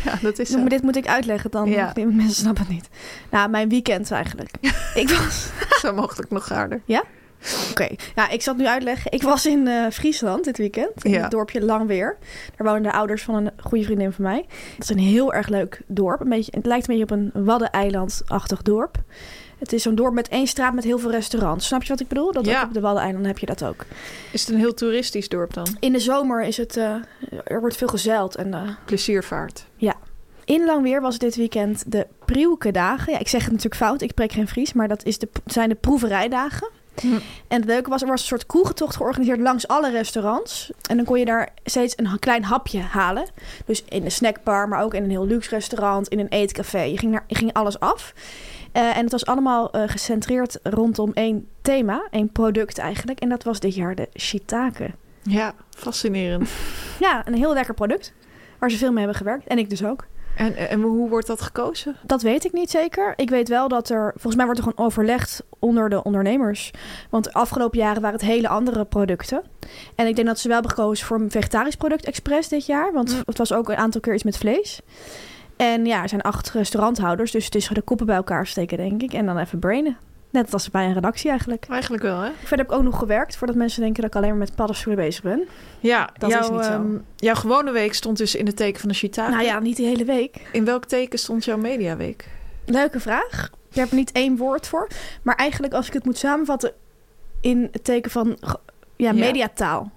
[SPEAKER 1] ja, dat is zo.
[SPEAKER 2] Dus dit moet ik uitleggen dan.
[SPEAKER 1] Ja.
[SPEAKER 2] Die [LAUGHS] Mensen snappen het niet. Nou, mijn weekend eigenlijk.
[SPEAKER 1] [LAUGHS]
[SPEAKER 2] ik was...
[SPEAKER 1] Zo mogelijk nog harder.
[SPEAKER 2] Oké, nou, ik zat nu uitleggen. Ik was in eh, Friesland dit weekend. In
[SPEAKER 1] Ja.
[SPEAKER 2] het dorpje Langweer. Daar wonen de ouders van een goede vriendin van mij. Het is een heel erg leuk dorp. Een beetje, het lijkt een beetje op een Waddeneiland-achtig dorp. Het is zo'n dorp met één straat met heel veel restaurants. Snap je wat ik bedoel? Dat
[SPEAKER 1] Ja.
[SPEAKER 2] ook op de Waddeneilanden heb je dat ook.
[SPEAKER 1] Is het een heel toeristisch dorp dan?
[SPEAKER 2] In de zomer is het, eh, er wordt veel gezeild en eh,
[SPEAKER 1] Pleziervaart.
[SPEAKER 2] In Langweer was dit weekend de Prielke-dagen. Ja, ik zeg het natuurlijk fout, ik spreek geen Fries, maar dat is de, zijn de proeverijdagen.
[SPEAKER 1] Hm.
[SPEAKER 2] En het leuke was, er was een soort kroegentocht georganiseerd langs alle restaurants. En dan kon je daar steeds een ha- klein hapje halen. Dus in de snackbar, maar ook in een heel luxe restaurant, in een eetcafé. Je ging, naar, je ging alles af. Eh, en het was allemaal eh, gecentreerd rondom één thema, één product eigenlijk. En dat was dit jaar de shiitake.
[SPEAKER 1] Ja, fascinerend.
[SPEAKER 2] Ja, een heel lekker product, waar ze veel mee hebben gewerkt. En ik dus ook.
[SPEAKER 1] En, en hoe wordt dat gekozen?
[SPEAKER 2] Dat weet ik niet zeker. Ik weet wel dat er, volgens mij wordt er gewoon overlegd onder de ondernemers. Want de afgelopen jaren waren het hele andere producten. En ik denk dat ze wel hebben gekozen voor een vegetarisch product expres dit jaar. Want het was ook een aantal keer iets met vlees. En ja, er zijn acht restauranthouders. Dus het is de koppen bij elkaar steken, denk ik. En dan even brainen. Net als bij een redactie eigenlijk.
[SPEAKER 1] Eigenlijk wel, hè?
[SPEAKER 2] Verder heb ik ook nog gewerkt, voordat mensen denken dat ik alleen maar met paddenstoelen bezig ben.
[SPEAKER 1] Ja,
[SPEAKER 2] Dat is
[SPEAKER 1] jouw,
[SPEAKER 2] niet zo.
[SPEAKER 1] ehm, jouw gewone week stond dus in het teken van de shiitake.
[SPEAKER 2] Nou ja, niet de hele week.
[SPEAKER 1] In welk teken stond jouw mediaweek?
[SPEAKER 2] Leuke vraag. Ik heb er niet één woord voor. Maar eigenlijk, als ik het moet samenvatten in het teken van ge- ja,
[SPEAKER 1] Ja. Ah,
[SPEAKER 2] mediataal.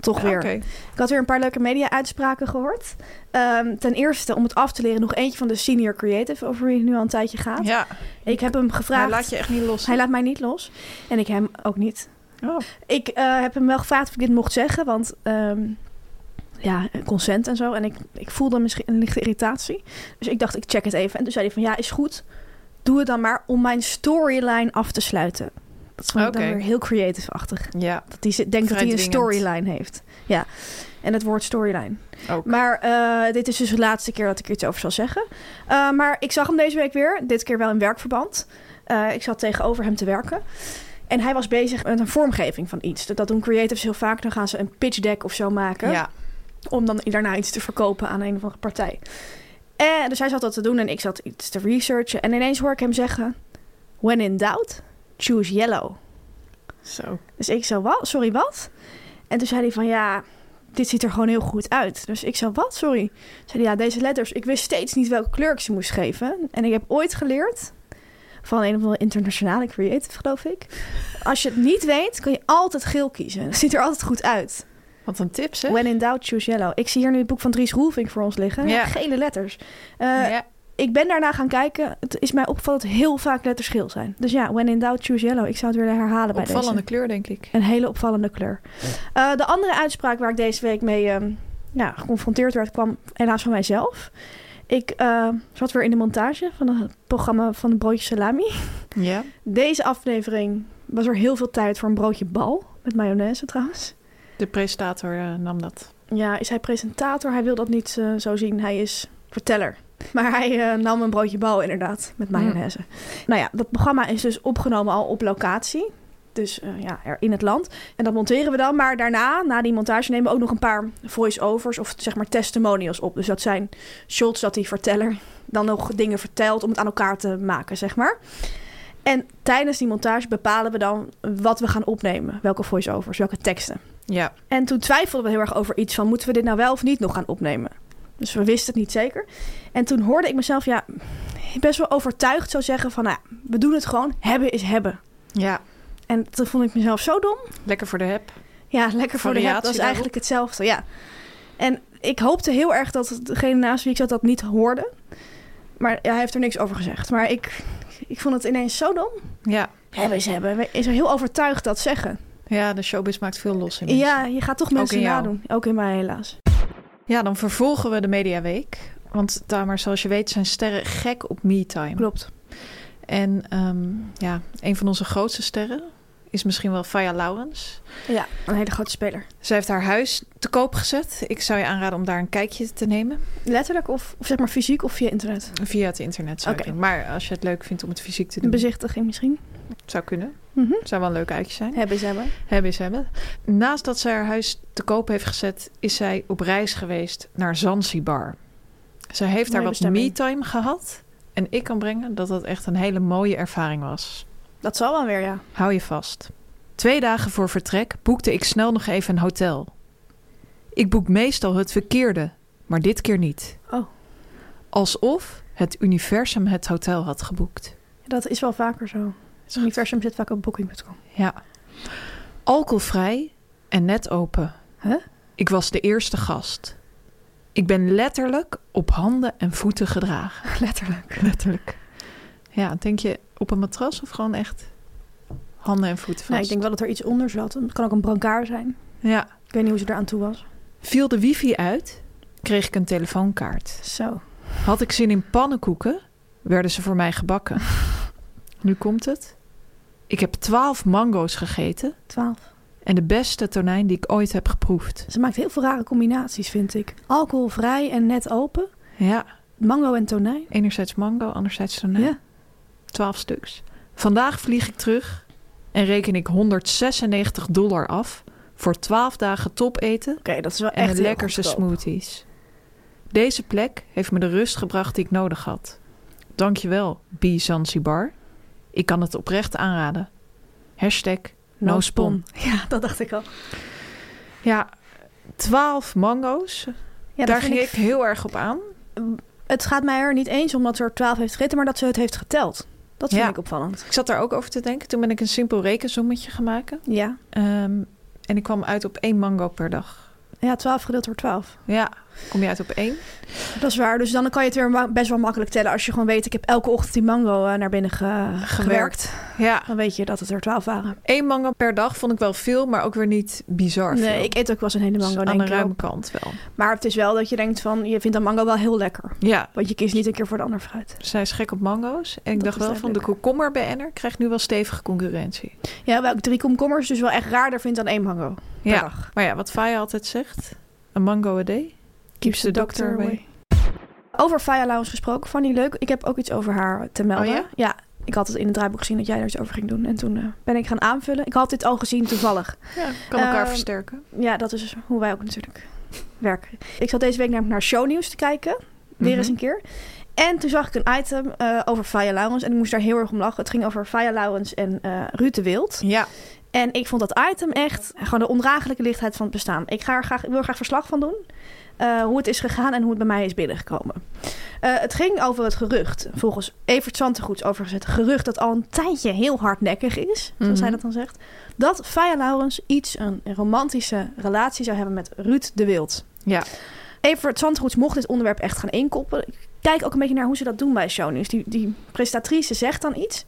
[SPEAKER 2] Toch weer.
[SPEAKER 1] Oké.
[SPEAKER 2] Ik had weer een paar leuke media-uitspraken gehoord. Ehm, ten eerste, om het af te leren, nog eentje van de senior creative, over wie het nu al een tijdje gaat.
[SPEAKER 1] Ja,
[SPEAKER 2] Ik heb hem gevraagd.
[SPEAKER 1] hij laat je echt niet los.
[SPEAKER 2] Hij laat mij niet los. En ik hem ook niet.
[SPEAKER 1] Oh.
[SPEAKER 2] Ik eh, heb hem wel gevraagd of ik dit mocht zeggen, want ehm, ja, consent en zo. En ik, ik voelde misschien een lichte irritatie. Dus ik dacht, ik check het even. En toen zei hij van, ja, is goed. Doe het dan maar om mijn storyline af te sluiten. Dat vond ik
[SPEAKER 1] Oké.
[SPEAKER 2] dan weer heel creative-achtig.
[SPEAKER 1] Ja,
[SPEAKER 2] Dat hij zit- denkt dat hij een
[SPEAKER 1] Vrijtwingend.
[SPEAKER 2] storyline heeft. Ja, en het woord storyline.
[SPEAKER 1] ook.
[SPEAKER 2] Maar eh, dit is dus de laatste keer dat ik er iets over zal zeggen. Eh, maar ik zag hem deze week weer. Dit keer wel in werkverband. Eh, ik zat tegenover hem te werken. En hij was bezig met een vormgeving van iets. Dat dat doen creatives heel vaak. Dan gaan ze een pitch deck of zo maken.
[SPEAKER 1] ja,
[SPEAKER 2] Om dan daarna iets te verkopen aan een of andere partij. En dus hij zat dat te doen en ik zat iets te researchen. En ineens hoor ik hem zeggen... When in doubt, choose yellow.
[SPEAKER 1] zo.
[SPEAKER 2] Dus ik zo, wat? Sorry, wat? En toen zei hij van, ja, dit ziet er gewoon heel goed uit. Dus ik zo, wat? Sorry. Zei hij, ja, deze letters, ik wist steeds niet welke kleur ik ze moest geven. En ik heb ooit geleerd van een of andere internationale creative, geloof ik. Als je het niet weet, kun je altijd geel kiezen. Het ziet er altijd goed uit.
[SPEAKER 1] Wat een tips, hè?
[SPEAKER 2] When in doubt, choose yellow. Ik zie hier nu het boek van Dries Roelvink voor ons liggen.
[SPEAKER 1] Ja.
[SPEAKER 2] Gele letters. Eh,
[SPEAKER 1] ja.
[SPEAKER 2] Ik ben daarna gaan kijken. Het is mij opgevallen dat heel vaak letters geel zijn. Dus ja, when in doubt, choose yellow. Ik zou het willen herhalen bij deze.
[SPEAKER 1] Opvallende kleur, denk ik.
[SPEAKER 2] Een hele opvallende kleur. Eh, de andere uitspraak waar ik deze week mee ehm, ja, geconfronteerd werd, kwam helaas van mijzelf. Ik eh, zat weer in de montage van het programma van de Broodje Salami.
[SPEAKER 1] Ja.
[SPEAKER 2] Deze aflevering was er heel veel tijd voor een broodje bal. Met mayonaise trouwens.
[SPEAKER 1] De presentator eh, nam dat.
[SPEAKER 2] Ja, is hij presentator? Hij wil dat niet eh, zo zien. Hij is verteller. [LAUGHS] Maar hij eh, nam een broodje bal inderdaad, met mayonaise. Nou ja, dat programma is dus opgenomen al op locatie. Dus eh, ja, er in het land. En dat monteren we dan. Maar daarna, na die montage, nemen we ook nog een paar voice-overs... of zeg maar testimonials op. Dus dat zijn shots dat die verteller dan nog dingen vertelt... om het aan elkaar te maken, zeg maar. En tijdens die montage bepalen we dan wat we gaan opnemen. Welke voice-overs, welke teksten.
[SPEAKER 1] Ja.
[SPEAKER 2] En toen twijfelden we heel erg over iets van... moeten we dit nou wel of niet nog gaan opnemen? Dus we wisten het niet zeker. En toen hoorde ik mezelf ja, best wel overtuigd zo zeggen van... Nou, ja, we doen het gewoon, hebben is hebben.
[SPEAKER 1] Ja.
[SPEAKER 2] En toen vond ik mezelf zo dom.
[SPEAKER 1] Lekker voor de heb.
[SPEAKER 2] Ja, lekker voor de
[SPEAKER 1] Variatie
[SPEAKER 2] heb. Dat is
[SPEAKER 1] daarop.
[SPEAKER 2] eigenlijk hetzelfde, ja. En ik hoopte heel erg dat degene naast wie ik zat dat niet hoorde. Maar ja, hij heeft er niks over gezegd. Maar ik Ik vond het ineens zo dom.
[SPEAKER 1] Ja.
[SPEAKER 2] Hebben ze hebben. Is er heel overtuigd dat zeggen.
[SPEAKER 1] ja, de showbiz maakt veel los in mensen.
[SPEAKER 2] Ja, je gaat toch mensen
[SPEAKER 1] in jou.
[SPEAKER 2] nadoen. Ook in mij helaas.
[SPEAKER 1] Ja, dan vervolgen we de Mediaweek. Want Tamar, zoals je weet, zijn sterren gek op me-time.
[SPEAKER 2] Klopt.
[SPEAKER 1] En ehm, ja, een van onze grootste sterren is misschien wel Faya Lawrence.
[SPEAKER 2] Ja, een hele grote speler.
[SPEAKER 1] Zij heeft haar huis te koop gezet. Ik zou je aanraden om daar een kijkje te nemen.
[SPEAKER 2] Letterlijk of, of zeg maar fysiek of via internet.
[SPEAKER 1] Via het internet zou ik
[SPEAKER 2] Oké.
[SPEAKER 1] doen. Maar als je het leuk vindt om het fysiek te
[SPEAKER 2] Een
[SPEAKER 1] doen,
[SPEAKER 2] bezichtiging misschien.
[SPEAKER 1] zou kunnen.
[SPEAKER 2] Mhm.
[SPEAKER 1] Zou wel een leuk uitje zijn.
[SPEAKER 2] Hebben ze hebben.
[SPEAKER 1] Hebben is hebben. Naast dat zij haar huis te koop heeft gezet, is zij op reis geweest naar Zanzibar. Zij heeft daar
[SPEAKER 2] Mooie
[SPEAKER 1] wat
[SPEAKER 2] bestemming.
[SPEAKER 1] me-time gehad. En ik kan brengen dat dat echt een hele mooie ervaring was.
[SPEAKER 2] Dat zal wel weer, ja.
[SPEAKER 1] Hou je vast. Twee dagen voor vertrek boekte ik snel nog even een hotel. Ik boek meestal het verkeerde, maar dit keer niet.
[SPEAKER 2] Oh.
[SPEAKER 1] Alsof het universum het hotel had geboekt.
[SPEAKER 2] Dat is wel vaker zo. Het universum zit vaak op booking.com.
[SPEAKER 1] Ja. Alcoholvrij en net open.
[SPEAKER 2] Huh?
[SPEAKER 1] Ik was de eerste gast. Ik ben letterlijk op handen en voeten gedragen.
[SPEAKER 2] [LAUGHS] Letterlijk.
[SPEAKER 1] Letterlijk. Ja, denk je op een matras of gewoon echt handen en voeten vast?
[SPEAKER 2] Nee, Nou, ik denk wel dat er iets onder zat. Het kan ook een brancard zijn.
[SPEAKER 1] Ja.
[SPEAKER 2] Ik weet niet hoe ze eraan toe was.
[SPEAKER 1] Viel de wifi uit, kreeg ik een telefoonkaart.
[SPEAKER 2] Zo.
[SPEAKER 1] Had ik zin in pannenkoeken, werden ze voor mij gebakken. Nu komt het. Ik heb twaalf mango's gegeten
[SPEAKER 2] 12.
[SPEAKER 1] en de beste tonijn die ik ooit heb geproefd.
[SPEAKER 2] Ze maakt heel veel rare combinaties, vind ik. Alcoholvrij en net open.
[SPEAKER 1] Ja,
[SPEAKER 2] Mango en tonijn.
[SPEAKER 1] enerzijds mango, anderzijds tonijn.
[SPEAKER 2] Ja.
[SPEAKER 1] Twaalf stuks. Vandaag vlieg ik terug en reken ik 196 dollar af voor twaalf dagen topeten
[SPEAKER 2] Oké, dat is wel
[SPEAKER 1] en
[SPEAKER 2] echt
[SPEAKER 1] de
[SPEAKER 2] heel
[SPEAKER 1] lekkerste
[SPEAKER 2] goedkoop.
[SPEAKER 1] smoothies. Deze plek heeft me de rust gebracht die ik nodig had. Dankjewel, B. Zanzibar. Ik kan het oprecht aanraden. Hashtag no,
[SPEAKER 2] No
[SPEAKER 1] spon.
[SPEAKER 2] spon. [LAUGHS] Ja, dat dacht ik al.
[SPEAKER 1] Ja, twaalf mango's.
[SPEAKER 2] Ja, dat
[SPEAKER 1] Daar
[SPEAKER 2] vind
[SPEAKER 1] ging ik heel erg op aan.
[SPEAKER 2] Het gaat mij er niet eens om dat ze er 12 heeft gegeten, maar dat ze het heeft geteld. Dat vind
[SPEAKER 1] Ja.
[SPEAKER 2] ik opvallend.
[SPEAKER 1] Ik zat daar ook over te denken. Toen ben ik een simpel rekensommetje gaan maken.
[SPEAKER 2] Ja.
[SPEAKER 1] Ehm, en ik kwam uit op één mango per dag.
[SPEAKER 2] ja, 12 gedeeld door 12.
[SPEAKER 1] Ja, kom je uit op één?
[SPEAKER 2] Dat is waar. Dus dan kan je het weer ma- best wel makkelijk tellen. Als je gewoon weet, ik heb elke ochtend die mango eh, naar binnen ge- gewerkt.
[SPEAKER 1] Ja,
[SPEAKER 2] Dan weet je dat het er 12 waren.
[SPEAKER 1] één mango per dag vond ik wel veel, maar ook weer niet bizar veel.
[SPEAKER 2] Nee, ik eet ook wel eens een hele
[SPEAKER 1] Dus
[SPEAKER 2] mango.
[SPEAKER 1] aan
[SPEAKER 2] Denk
[SPEAKER 1] de
[SPEAKER 2] ik wel.
[SPEAKER 1] ruime kant wel.
[SPEAKER 2] Maar het is wel dat je denkt van, je vindt dat mango wel heel lekker.
[SPEAKER 1] Ja,
[SPEAKER 2] Want je kiest niet een keer voor de ander fruit.
[SPEAKER 1] Zij is gek op mango's. En ik
[SPEAKER 2] Dat
[SPEAKER 1] dacht
[SPEAKER 2] is
[SPEAKER 1] wel van de
[SPEAKER 2] duidelijk.
[SPEAKER 1] komkommer bij Enner krijgt nu wel stevige concurrentie.
[SPEAKER 2] Ja, wel ik drie komkommers dus wel echt raarder vind dan één mango per
[SPEAKER 1] Ja.
[SPEAKER 2] dag.
[SPEAKER 1] Maar ja, wat Faya altijd zegt: een mango a day.
[SPEAKER 2] Keeps the doctor away. Over Faya Lawrence gesproken, Fanny, leuk. Ik heb ook iets over haar te melden.
[SPEAKER 1] Oh ja?
[SPEAKER 2] ik had het in het draaiboek gezien dat jij er iets over ging doen. En toen eh, ben ik gaan aanvullen. Ik had dit al gezien toevallig.
[SPEAKER 1] Ja, kan elkaar
[SPEAKER 2] Ehm,
[SPEAKER 1] versterken.
[SPEAKER 2] Ja, dat is hoe wij ook natuurlijk werken. Ik zat deze week namelijk naar shownieuws te kijken. Weer eens
[SPEAKER 1] Mhm.
[SPEAKER 2] een keer. En toen zag ik een item eh, over Faya Lawrence. En ik moest daar heel erg om lachen. Het ging over Faya Lawrence en eh Ruud de Wild.
[SPEAKER 1] Ja,
[SPEAKER 2] En ik vond dat item echt gewoon de ondraaglijke lichtheid van het bestaan. Ik, ga er graag, ik wil er graag verslag van doen. eh, hoe het is gegaan en hoe het bij mij is binnengekomen. Eh, het ging over het gerucht. Volgens Evert Zantegoeds overigens het gerucht dat al een tijdje heel hardnekkig is. Zoals
[SPEAKER 1] Mhm.
[SPEAKER 2] hij dat dan zegt. Dat Faya Laurens iets een romantische relatie zou hebben met Ruud de Wild.
[SPEAKER 1] ja.
[SPEAKER 2] Evert Zandgoeds mocht dit onderwerp echt gaan inkoppelen. Ik kijk ook een beetje naar hoe ze dat doen bij shownieuws. Die, die presentatrice zegt dan iets.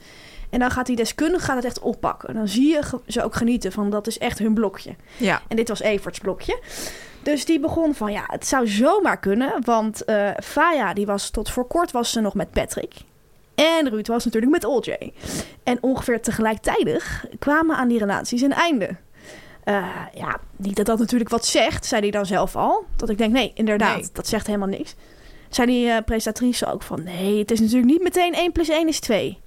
[SPEAKER 2] En dan gaat die deskundige gaat het echt oppakken. Dan zie je ge- ze ook genieten van dat is echt hun blokje.
[SPEAKER 1] ja.
[SPEAKER 2] En dit was Everts blokje. Dus die begon van ja, het zou zomaar kunnen. Want eh Faya, die was tot voor kort was ze nog met Patrick. En Ruud was natuurlijk met OJ. En ongeveer tegelijkertijdig kwamen aan die relaties een einde. Eh, ja, niet dat dat natuurlijk wat zegt, zei hij dan zelf al. Dat ik denk, nee, inderdaad,
[SPEAKER 1] Nee.
[SPEAKER 2] dat zegt helemaal niks. Zei die eh, presentatrice ook van, nee, het is natuurlijk niet meteen 1 plus 1 is 2.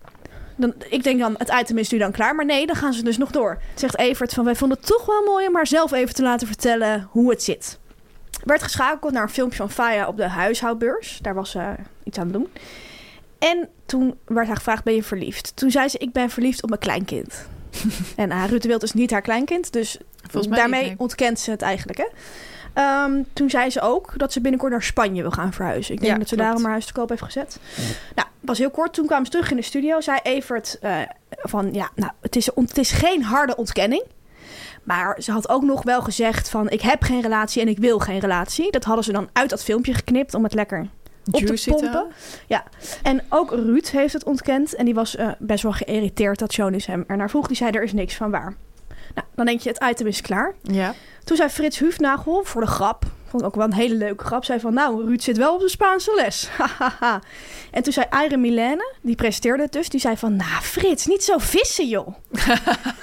[SPEAKER 2] Dan, ik denk dan, het item is nu dan klaar, maar nee, dan gaan ze dus nog door. Zegt Evert van, wij vonden het toch wel mooi om haar zelf even te laten vertellen hoe het zit. Werd geschakeld naar een filmpje van Faya op de huishoudbeurs. Daar was ze iets aan het doen. En toen werd haar gevraagd, ben je verliefd? Toen zei ze, ik ben verliefd op mijn
[SPEAKER 1] [LAUGHS]
[SPEAKER 2] kleinkind. en haar Ruud de Wild is niet haar kleinkind, dus
[SPEAKER 1] Volgens mij
[SPEAKER 2] daarmee
[SPEAKER 1] niet, nee.
[SPEAKER 2] ontkent ze het eigenlijk. Hè? Ehm, toen zei ze ook dat ze binnenkort naar Spanje wil gaan verhuizen. Ik denk
[SPEAKER 1] Ja,
[SPEAKER 2] dat ze
[SPEAKER 1] klopt.
[SPEAKER 2] daarom haar huis te koop heeft gezet. Nou, was heel kort. Toen kwamen ze terug in de studio. Zei Evert eh, van, ja, nou, het is, ont- het is geen harde ontkenning. Maar ze had ook nog wel gezegd van, ik heb geen relatie en ik wil geen relatie. Dat hadden ze dan uit dat filmpje geknipt om het lekker op te
[SPEAKER 1] Juicy
[SPEAKER 2] pompen.
[SPEAKER 1] Town.
[SPEAKER 2] Ja. En ook Ruud heeft het ontkend. En die was eh, best wel geïrriteerd dat Jonis hem ernaar vroeg. Die zei, er is niks van waar. Nou, dan denk je, het item is klaar.
[SPEAKER 1] Ja.
[SPEAKER 2] Toen zei Frits Hufnagel, voor de grap, vond ik ook wel een hele leuke grap, zei van, nou, Ruud zit wel op de Spaanse les. [LAUGHS] Hahaha. en toen zei Irene Milene, die presenteerde het dus, die zei van, nou, Frits, niet zo vissen, joh.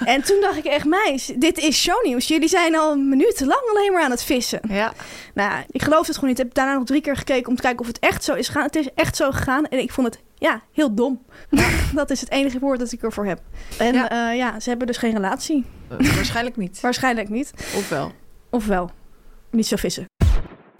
[SPEAKER 2] en toen dacht ik echt, meis, dit is shownieuws. Jullie zijn al minutenlang alleen maar aan het vissen. [LAUGHS]
[SPEAKER 1] Ja.
[SPEAKER 2] Nou, ja, ik geloof het gewoon niet. Ik heb daarna nog drie keer gekeken om te kijken of het echt zo is gegaan. Het is echt zo gegaan en ik vond het, ja, heel [LAUGHS] dom. dat is het enige woord dat ik ervoor heb. En
[SPEAKER 1] Ja.
[SPEAKER 2] ja, ja ze hebben dus geen relatie.
[SPEAKER 1] Eh, waarschijnlijk niet.
[SPEAKER 2] Waarschijnlijk niet.
[SPEAKER 1] Of wel.
[SPEAKER 2] Ofwel, niet zo vissen.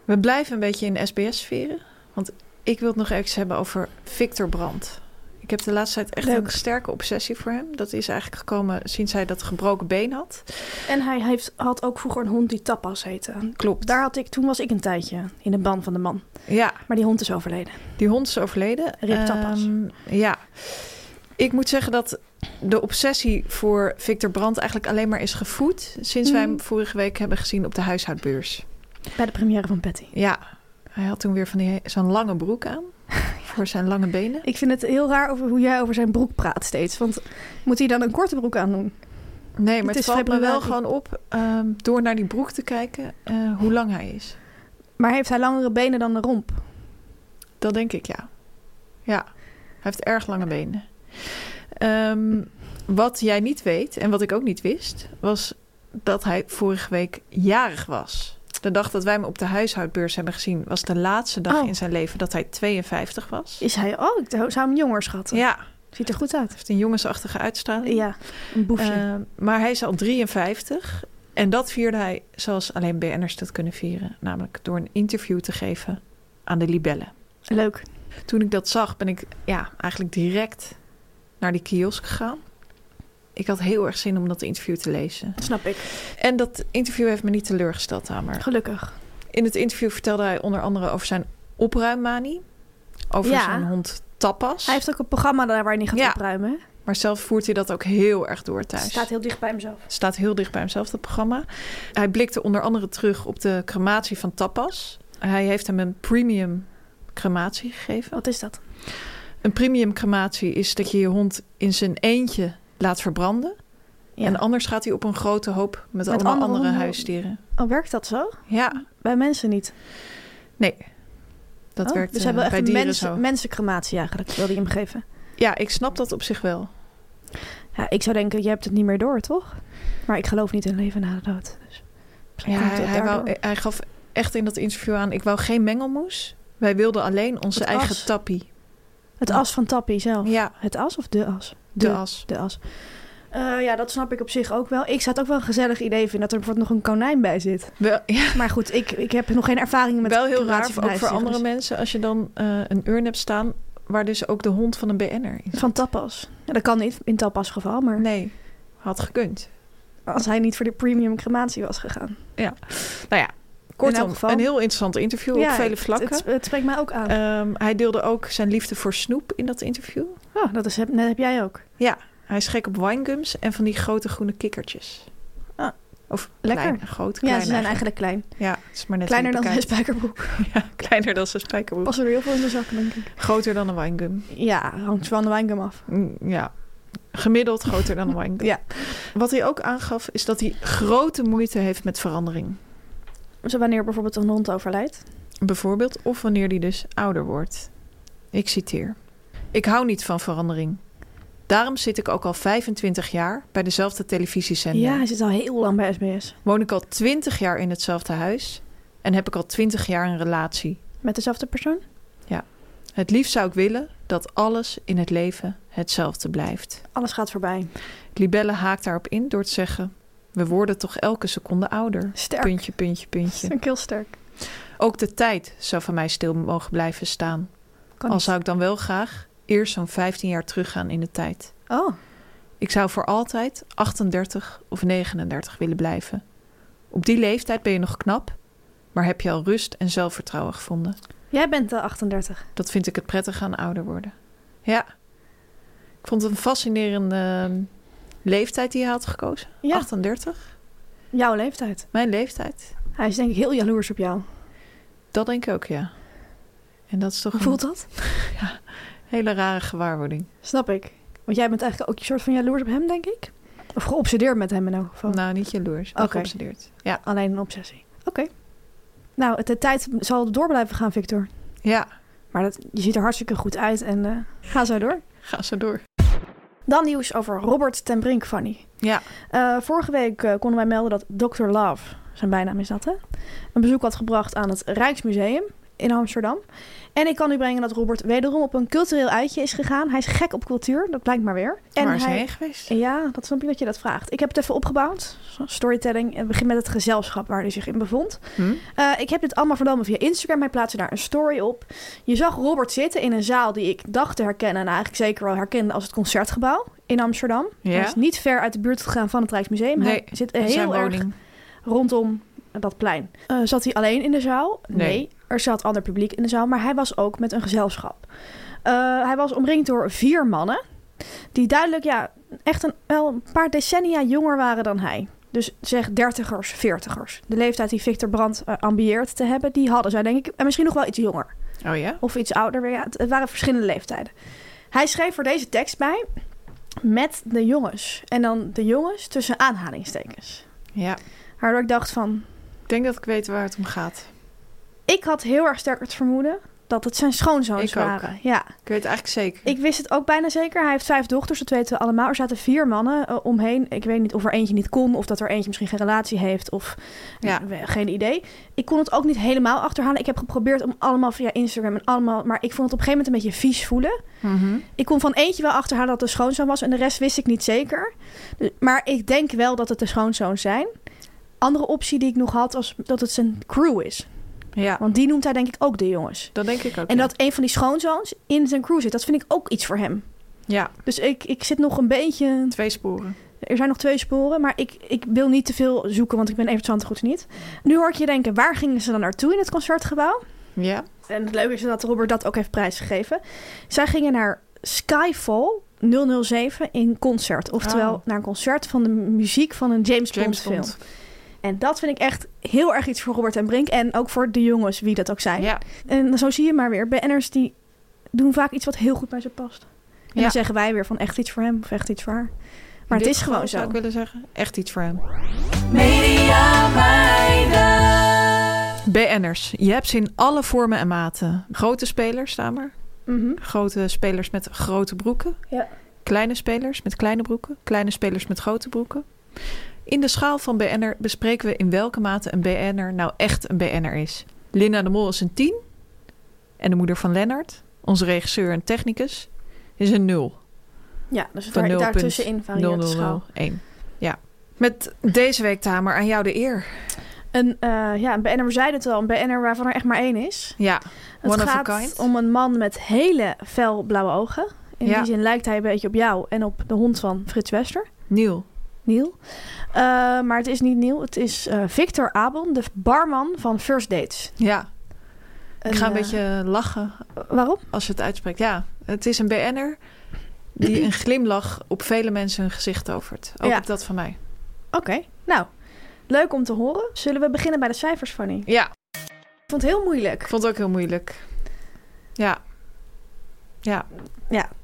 [SPEAKER 1] We blijven een beetje in de SBS-sferen. Want ik wil het nog even hebben over Victor Brandt. Ik heb de laatste tijd echt
[SPEAKER 2] Leuk.
[SPEAKER 1] een sterke obsessie voor hem. Dat is eigenlijk gekomen sinds hij dat gebroken been had.
[SPEAKER 2] En hij heeft, had ook vroeger een hond die Tapas heette.
[SPEAKER 1] Klopt.
[SPEAKER 2] Daar had ik, toen was ik een tijdje in de ban van de man.
[SPEAKER 1] Ja,
[SPEAKER 2] Maar die hond is overleden.
[SPEAKER 1] die hond is overleden.
[SPEAKER 2] Rip tapas.
[SPEAKER 1] Ehm, ja. Ik moet zeggen dat de obsessie voor Victor Brandt eigenlijk alleen maar is gevoed... sinds wij
[SPEAKER 2] Mhm.
[SPEAKER 1] hem vorige week hebben gezien op de huishoudbeurs.
[SPEAKER 2] Bij de première van Patty.
[SPEAKER 1] Ja, hij had toen weer van die- zo'n lange broek
[SPEAKER 2] [LAUGHS]
[SPEAKER 1] aan. Voor zijn lange benen.
[SPEAKER 2] Ik vind het heel raar over hoe jij over zijn broek praat steeds. Want moet hij dan een korte broek aan doen?
[SPEAKER 1] Nee, maar
[SPEAKER 2] Het
[SPEAKER 1] het,
[SPEAKER 2] is
[SPEAKER 1] valt me wel
[SPEAKER 2] februari.
[SPEAKER 1] gewoon op ehm, door naar die broek te kijken eh, hoe lang hij is.
[SPEAKER 2] Maar heeft hij langere benen dan de romp?
[SPEAKER 1] Dat denk ik, ja. Ja, hij heeft erg lange benen. Ehm, wat jij niet weet en wat ik ook niet wist, was dat hij vorige week jarig was. De dag dat wij hem op de huishoudbeurs hebben gezien, was de laatste dag
[SPEAKER 2] Oh.
[SPEAKER 1] in zijn leven dat hij 52 was.
[SPEAKER 2] Is hij, oh, ik zou hem jonger schatten.
[SPEAKER 1] Ja,
[SPEAKER 2] Ziet er goed uit.
[SPEAKER 1] heeft een jongensachtige uitstraling.
[SPEAKER 2] Ja, Oh. een boefje.
[SPEAKER 1] Eh, maar hij is al 53. En dat vierde hij zoals alleen BN'ers dat kunnen vieren. Namelijk door een interview te geven aan de libellen.
[SPEAKER 2] Eh, Leuk.
[SPEAKER 1] Toen ik dat zag, ben ik ja, eigenlijk direct naar die kiosk gegaan. Ik had heel erg zin om dat interview te lezen.
[SPEAKER 2] Snap ik.
[SPEAKER 1] En dat interview heeft me niet teleurgesteld, Hamer.
[SPEAKER 2] Gelukkig.
[SPEAKER 1] In het interview vertelde hij onder andere over zijn opruimmanie. Over
[SPEAKER 2] Ja.
[SPEAKER 1] zijn hond Tapas.
[SPEAKER 2] Hij heeft ook een programma daar waar hij gaat
[SPEAKER 1] Ja.
[SPEAKER 2] opruimen. hè?
[SPEAKER 1] Maar zelf voert hij dat ook heel erg door thuis.
[SPEAKER 2] Staat heel dicht bij hemzelf.
[SPEAKER 1] staat heel dicht bij hemzelf, dat programma. Hij blikte onder andere terug op de crematie van Tapas. Hij heeft hem een premium crematie gegeven.
[SPEAKER 2] Wat is dat?
[SPEAKER 1] Een premium crematie is dat je je hond in zijn eentje laat verbranden.
[SPEAKER 2] Ja.
[SPEAKER 1] En anders gaat hij op een grote hoop met, allemaal
[SPEAKER 2] andere
[SPEAKER 1] andere,
[SPEAKER 2] honden.
[SPEAKER 1] huisdieren.
[SPEAKER 2] Oh, werkt dat zo?
[SPEAKER 1] Ja,
[SPEAKER 2] Bij mensen niet.
[SPEAKER 1] nee. Dat
[SPEAKER 2] Oh,
[SPEAKER 1] werkt
[SPEAKER 2] dus
[SPEAKER 1] eh,
[SPEAKER 2] hebben we
[SPEAKER 1] bij
[SPEAKER 2] echt een
[SPEAKER 1] dieren
[SPEAKER 2] mensen,
[SPEAKER 1] zo.
[SPEAKER 2] mensencrematie eigenlijk, wilde je hem geven.
[SPEAKER 1] Ja, ik snap dat op zich wel.
[SPEAKER 2] Ja, ik zou denken, je hebt het niet meer door, toch? Maar ik geloof niet in leven na de dood. Dus misschien
[SPEAKER 1] Ja,
[SPEAKER 2] komt
[SPEAKER 1] hij,
[SPEAKER 2] het
[SPEAKER 1] hij, wou-
[SPEAKER 2] daardoor.
[SPEAKER 1] hij gaf echt in dat interview aan... ik wou geen mengelmoes. Wij wilden alleen onze
[SPEAKER 2] Het
[SPEAKER 1] eigen
[SPEAKER 2] as.
[SPEAKER 1] tappie.
[SPEAKER 2] Het as van Tappie zelf.
[SPEAKER 1] Ja,
[SPEAKER 2] Het as of de as?
[SPEAKER 1] de, as.
[SPEAKER 2] De as. Eh, ja, dat snap ik op zich ook wel. Ik zou het ook wel een gezellig idee vinden dat er bijvoorbeeld nog een konijn bij zit.
[SPEAKER 1] Wel, ja.
[SPEAKER 2] Maar goed, ik, ik heb nog geen ervaring met
[SPEAKER 1] wel heel
[SPEAKER 2] crematie
[SPEAKER 1] raar,
[SPEAKER 2] van
[SPEAKER 1] ook voor
[SPEAKER 2] ijsdieren.
[SPEAKER 1] andere mensen, als je dan eh, een urn hebt staan waar dus ook de hond van een BN'er is.
[SPEAKER 2] Van Tappas. Ja, dat kan niet in Tappas geval, maar
[SPEAKER 1] Nee, had gekund.
[SPEAKER 2] als hij niet voor de premium crematie was gegaan.
[SPEAKER 1] Nou ja,
[SPEAKER 2] In
[SPEAKER 1] kortom,
[SPEAKER 2] elk geval.
[SPEAKER 1] een heel interessant interview op vele
[SPEAKER 2] het-
[SPEAKER 1] vlakken.
[SPEAKER 2] Het, het, spreekt mij ook aan.
[SPEAKER 1] Ehm, hij deelde ook zijn liefde voor snoep in dat interview.
[SPEAKER 2] oh, dat is, heb, net heb jij ook.
[SPEAKER 1] Ja, hij is gek op winegums en van die grote groene kikkertjes.
[SPEAKER 2] Ah,
[SPEAKER 1] Of
[SPEAKER 2] lekker.
[SPEAKER 1] klein, groot, klein
[SPEAKER 2] Ja, ze zijn eigenlijk klein.
[SPEAKER 1] Ja, het is maar net
[SPEAKER 2] Kleiner
[SPEAKER 1] hoe
[SPEAKER 2] dan Oh.
[SPEAKER 1] je
[SPEAKER 2] een
[SPEAKER 1] het
[SPEAKER 2] spijkerbroek.
[SPEAKER 1] bekijkt. [LAUGHS] Ja, kleiner dan zijn spijkerbroek.
[SPEAKER 2] Pas er heel veel in de zakken, denk ik.
[SPEAKER 1] Groter dan een winegum.
[SPEAKER 2] Ja, hangt van de wijngum af.
[SPEAKER 1] Mm, Ja, gemiddeld groter
[SPEAKER 2] [LAUGHS]
[SPEAKER 1] dan een winegum.
[SPEAKER 2] Ja.
[SPEAKER 1] Wat hij ook aangaf is dat hij grote moeite heeft met verandering.
[SPEAKER 2] Zo Dus wanneer bijvoorbeeld een hond overlijdt.
[SPEAKER 1] Bijvoorbeeld of wanneer die dus ouder wordt. Ik citeer. Ik hou niet van verandering. Daarom zit ik ook al 25 jaar bij dezelfde televisiezender.
[SPEAKER 2] Ja, hij zit al heel lang bij SBS.
[SPEAKER 1] Woon ik al 20 jaar in hetzelfde huis en heb ik al 20 jaar een relatie.
[SPEAKER 2] Met dezelfde persoon?
[SPEAKER 1] Het liefst zou ik willen dat alles in het leven hetzelfde blijft.
[SPEAKER 2] Alles gaat voorbij.
[SPEAKER 1] Libelle haakt daarop in door te zeggen: We worden toch elke seconde ouder.
[SPEAKER 2] Sterk.
[SPEAKER 1] Puntje, puntje,
[SPEAKER 2] Dat
[SPEAKER 1] puntje.
[SPEAKER 2] vind ik heel sterk.
[SPEAKER 1] Ook de tijd zou van mij stil mogen blijven staan.
[SPEAKER 2] Kan
[SPEAKER 1] Al
[SPEAKER 2] niet.
[SPEAKER 1] zou ik dan wel graag eerst zo'n 15 jaar teruggaan in de tijd.
[SPEAKER 2] Oh,
[SPEAKER 1] Ik zou voor altijd 38 of 39 willen blijven. Op die leeftijd ben je nog knap, maar heb je al rust en zelfvertrouwen gevonden.
[SPEAKER 2] jij bent de 38.
[SPEAKER 1] Dat vind ik het prettig aan ouder worden. Ja, ik vond het een fascinerende ehm, leeftijd die je had gekozen.
[SPEAKER 2] Ja.
[SPEAKER 1] 38,
[SPEAKER 2] Jouw leeftijd.
[SPEAKER 1] mijn leeftijd.
[SPEAKER 2] Hij is denk ik heel jaloers op jou.
[SPEAKER 1] Dat denk ik ook, ja. En dat is toch
[SPEAKER 2] Hoe
[SPEAKER 1] een
[SPEAKER 2] voelt dat?
[SPEAKER 1] hele rare gewaarwording.
[SPEAKER 2] Snap ik. Want jij bent eigenlijk ook een soort van jaloers op hem, denk ik. Of geobsedeerd met hem in elk geval.
[SPEAKER 1] Nou, niet jaloers. maar
[SPEAKER 2] Oh. Oké.
[SPEAKER 1] Geobsedeerd. Ja.
[SPEAKER 2] Alleen een obsessie. Oké. Nou, het- de tijd zal door blijven gaan, Victor.
[SPEAKER 1] ja,
[SPEAKER 2] Maar dat, je ziet er hartstikke goed uit en eh, ga zo door.
[SPEAKER 1] ga zo door.
[SPEAKER 2] Dan nieuws over Robert ten Brink, Fanny.
[SPEAKER 1] Ja,
[SPEAKER 2] Eh, vorige week eh, konden wij melden dat Dr. Love, zijn bijnaam is dat hè, een bezoek had gebracht aan het Rijksmuseum in Amsterdam. En ik kan u brengen dat Robert wederom op een cultureel uitje is gegaan. Hij is gek op cultuur, dat blijkt maar weer. En
[SPEAKER 1] waar is hij
[SPEAKER 2] hij,
[SPEAKER 1] heen geweest?
[SPEAKER 2] Ja, dat snap ik dat je dat vraagt. Ik heb het even opgebouwd. Storytelling. En begin met het gezelschap waar hij zich in bevond.
[SPEAKER 1] Hm?
[SPEAKER 2] Eh, ik heb dit allemaal vernomen via Instagram. Hij plaatste daar een story op. Je zag Robert zitten in een zaal die ik dacht te herkennen. En eigenlijk zeker wel herkende als het concertgebouw in Amsterdam. Hij
[SPEAKER 1] Ja,
[SPEAKER 2] is niet ver uit de buurt gegaan van het Rijksmuseum.
[SPEAKER 1] Nee,
[SPEAKER 2] hij zit
[SPEAKER 1] zijn
[SPEAKER 2] heel erg
[SPEAKER 1] woning.
[SPEAKER 2] rondom dat plein. Eh, zat hij alleen in de zaal? Nee.
[SPEAKER 1] Nee.
[SPEAKER 2] Er zat ander publiek in de zaal, maar hij was ook met een gezelschap. Eh, hij was omringd door vier mannen, die duidelijk ja, echt een, wel een paar decennia jonger waren dan hij. Dus zeg dertigers, veertigers. De leeftijd die Victor Brandt eh, ambieert te hebben, die hadden zij denk ik. En misschien nog wel iets jonger
[SPEAKER 1] Oh ja?
[SPEAKER 2] of iets ouder. weer. Ja, het, het waren verschillende leeftijden. Hij schreef voor deze tekst bij met de jongens. En dan de jongens tussen aanhalingstekens.
[SPEAKER 1] Ja.
[SPEAKER 2] Waardoor ik dacht van...
[SPEAKER 1] Ik denk dat ik weet waar het om gaat.
[SPEAKER 2] Ik had heel erg sterk het vermoeden dat het zijn schoonzoons
[SPEAKER 1] Ik ook.
[SPEAKER 2] waren. Ja,
[SPEAKER 1] Ik weet het eigenlijk zeker.
[SPEAKER 2] ik wist het ook bijna zeker. Hij heeft vijf dochters, dat weten we allemaal. Er zaten vier mannen eh, omheen. Ik weet niet of er eentje niet kon... of dat er eentje misschien geen relatie heeft of eh,
[SPEAKER 1] Ja.
[SPEAKER 2] We- Geen idee. Ik kon het ook niet helemaal achterhalen. Ik heb geprobeerd om allemaal via Instagram en allemaal... maar ik vond het op een gegeven moment een beetje vies voelen.
[SPEAKER 1] Mhm.
[SPEAKER 2] Ik kon van eentje wel achterhalen dat het de schoonzoon was... en de rest wist ik niet zeker. Dus- maar ik denk wel dat het de schoonzoons zijn. Andere optie die ik nog had was dat het zijn crew is.
[SPEAKER 1] Ja,
[SPEAKER 2] Want die noemt hij denk ik ook de jongens.
[SPEAKER 1] dat denk ik ook.
[SPEAKER 2] En
[SPEAKER 1] ja.
[SPEAKER 2] dat een van die schoonzoons in zijn crew zit. Dat vind ik ook iets voor hem.
[SPEAKER 1] Ja,
[SPEAKER 2] Dus ik, ik zit nog een beetje...
[SPEAKER 1] twee sporen.
[SPEAKER 2] Er zijn nog twee sporen, maar ik, ik wil niet te veel zoeken, want ik ben even goed goeds niet. Nu hoor ik je denken, waar gingen ze dan naartoe in het concertgebouw?
[SPEAKER 1] Ja.
[SPEAKER 2] En het leuke is dat Robert dat ook heeft prijsgegeven. Zij gingen naar Skyfall 007 in concert. Oftewel
[SPEAKER 1] Oh.
[SPEAKER 2] naar een concert van de muziek van een James,
[SPEAKER 1] James
[SPEAKER 2] Bond film.
[SPEAKER 1] Bond.
[SPEAKER 2] En dat vind ik echt heel erg iets voor Robert en Brink. En ook voor de jongens, wie dat ook zijn.
[SPEAKER 1] Ja.
[SPEAKER 2] En zo zie je maar weer, BN'ers die doen vaak iets wat heel goed bij ze past. En
[SPEAKER 1] Ja.
[SPEAKER 2] dan zeggen wij weer van echt iets voor hem of echt iets voor haar. Maar
[SPEAKER 1] In
[SPEAKER 2] het
[SPEAKER 1] dit
[SPEAKER 2] is
[SPEAKER 1] geval
[SPEAKER 2] gewoon zo.
[SPEAKER 1] zou ik willen zeggen, echt iets voor hem.
[SPEAKER 3] Media meiden.
[SPEAKER 1] BN'ers, je hebt ze in alle vormen en maten. Grote spelers staan er.
[SPEAKER 2] Mhm.
[SPEAKER 1] Grote spelers met grote broeken.
[SPEAKER 2] Ja.
[SPEAKER 1] Kleine spelers met kleine broeken. Kleine spelers met grote broeken. In de schaal van BN'er bespreken we in welke mate een BN'er nou echt een BN'er is. Linda de Mol is een 10. En de moeder van Lennart, onze regisseur en technicus, is een 0.
[SPEAKER 2] Ja, dus
[SPEAKER 1] Van
[SPEAKER 2] daar,
[SPEAKER 1] 0.0001.
[SPEAKER 2] daartussenin varieert Oh, de schaal.
[SPEAKER 1] 0001. Ja. Met deze week, Tamer, aan jou de eer.
[SPEAKER 2] Een, eh ja, een BN'er, we zeiden het al, een BN'er waarvan er echt maar één is.
[SPEAKER 1] Ja,
[SPEAKER 2] Het
[SPEAKER 1] one
[SPEAKER 2] gaat
[SPEAKER 1] of a kind.
[SPEAKER 2] om een man met hele fel blauwe ogen. In
[SPEAKER 1] Ja.
[SPEAKER 2] die zin lijkt hij een beetje op jou en op de hond van Frits Wester,
[SPEAKER 1] Nieuw.
[SPEAKER 2] Neil. Eh, maar het is niet Neil, het is eh, Victor Abon, de barman van First Dates.
[SPEAKER 1] Ja, ik
[SPEAKER 2] Een,
[SPEAKER 1] ga een
[SPEAKER 2] eh,
[SPEAKER 1] beetje lachen
[SPEAKER 2] Waarom?
[SPEAKER 1] als je het uitspreekt. Ja, het is een BN'er die een glimlach op vele mensen hun gezicht tovert. Ook
[SPEAKER 2] Ja.
[SPEAKER 1] op dat van mij.
[SPEAKER 2] Oké, nou, leuk om te horen. Zullen we beginnen bij de cijfers, Fanny?
[SPEAKER 1] Ja,
[SPEAKER 2] Ik vond het heel
[SPEAKER 1] ik
[SPEAKER 2] moeilijk.
[SPEAKER 1] vond het ook heel moeilijk. Ja,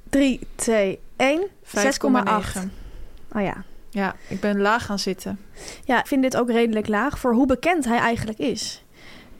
[SPEAKER 2] 3, 2, 1, 6,8.
[SPEAKER 1] 5,9.
[SPEAKER 2] Oh ja,
[SPEAKER 1] Ja, ik ben laag gaan zitten.
[SPEAKER 2] Ja, ik vind dit ook redelijk laag voor hoe bekend hij eigenlijk is.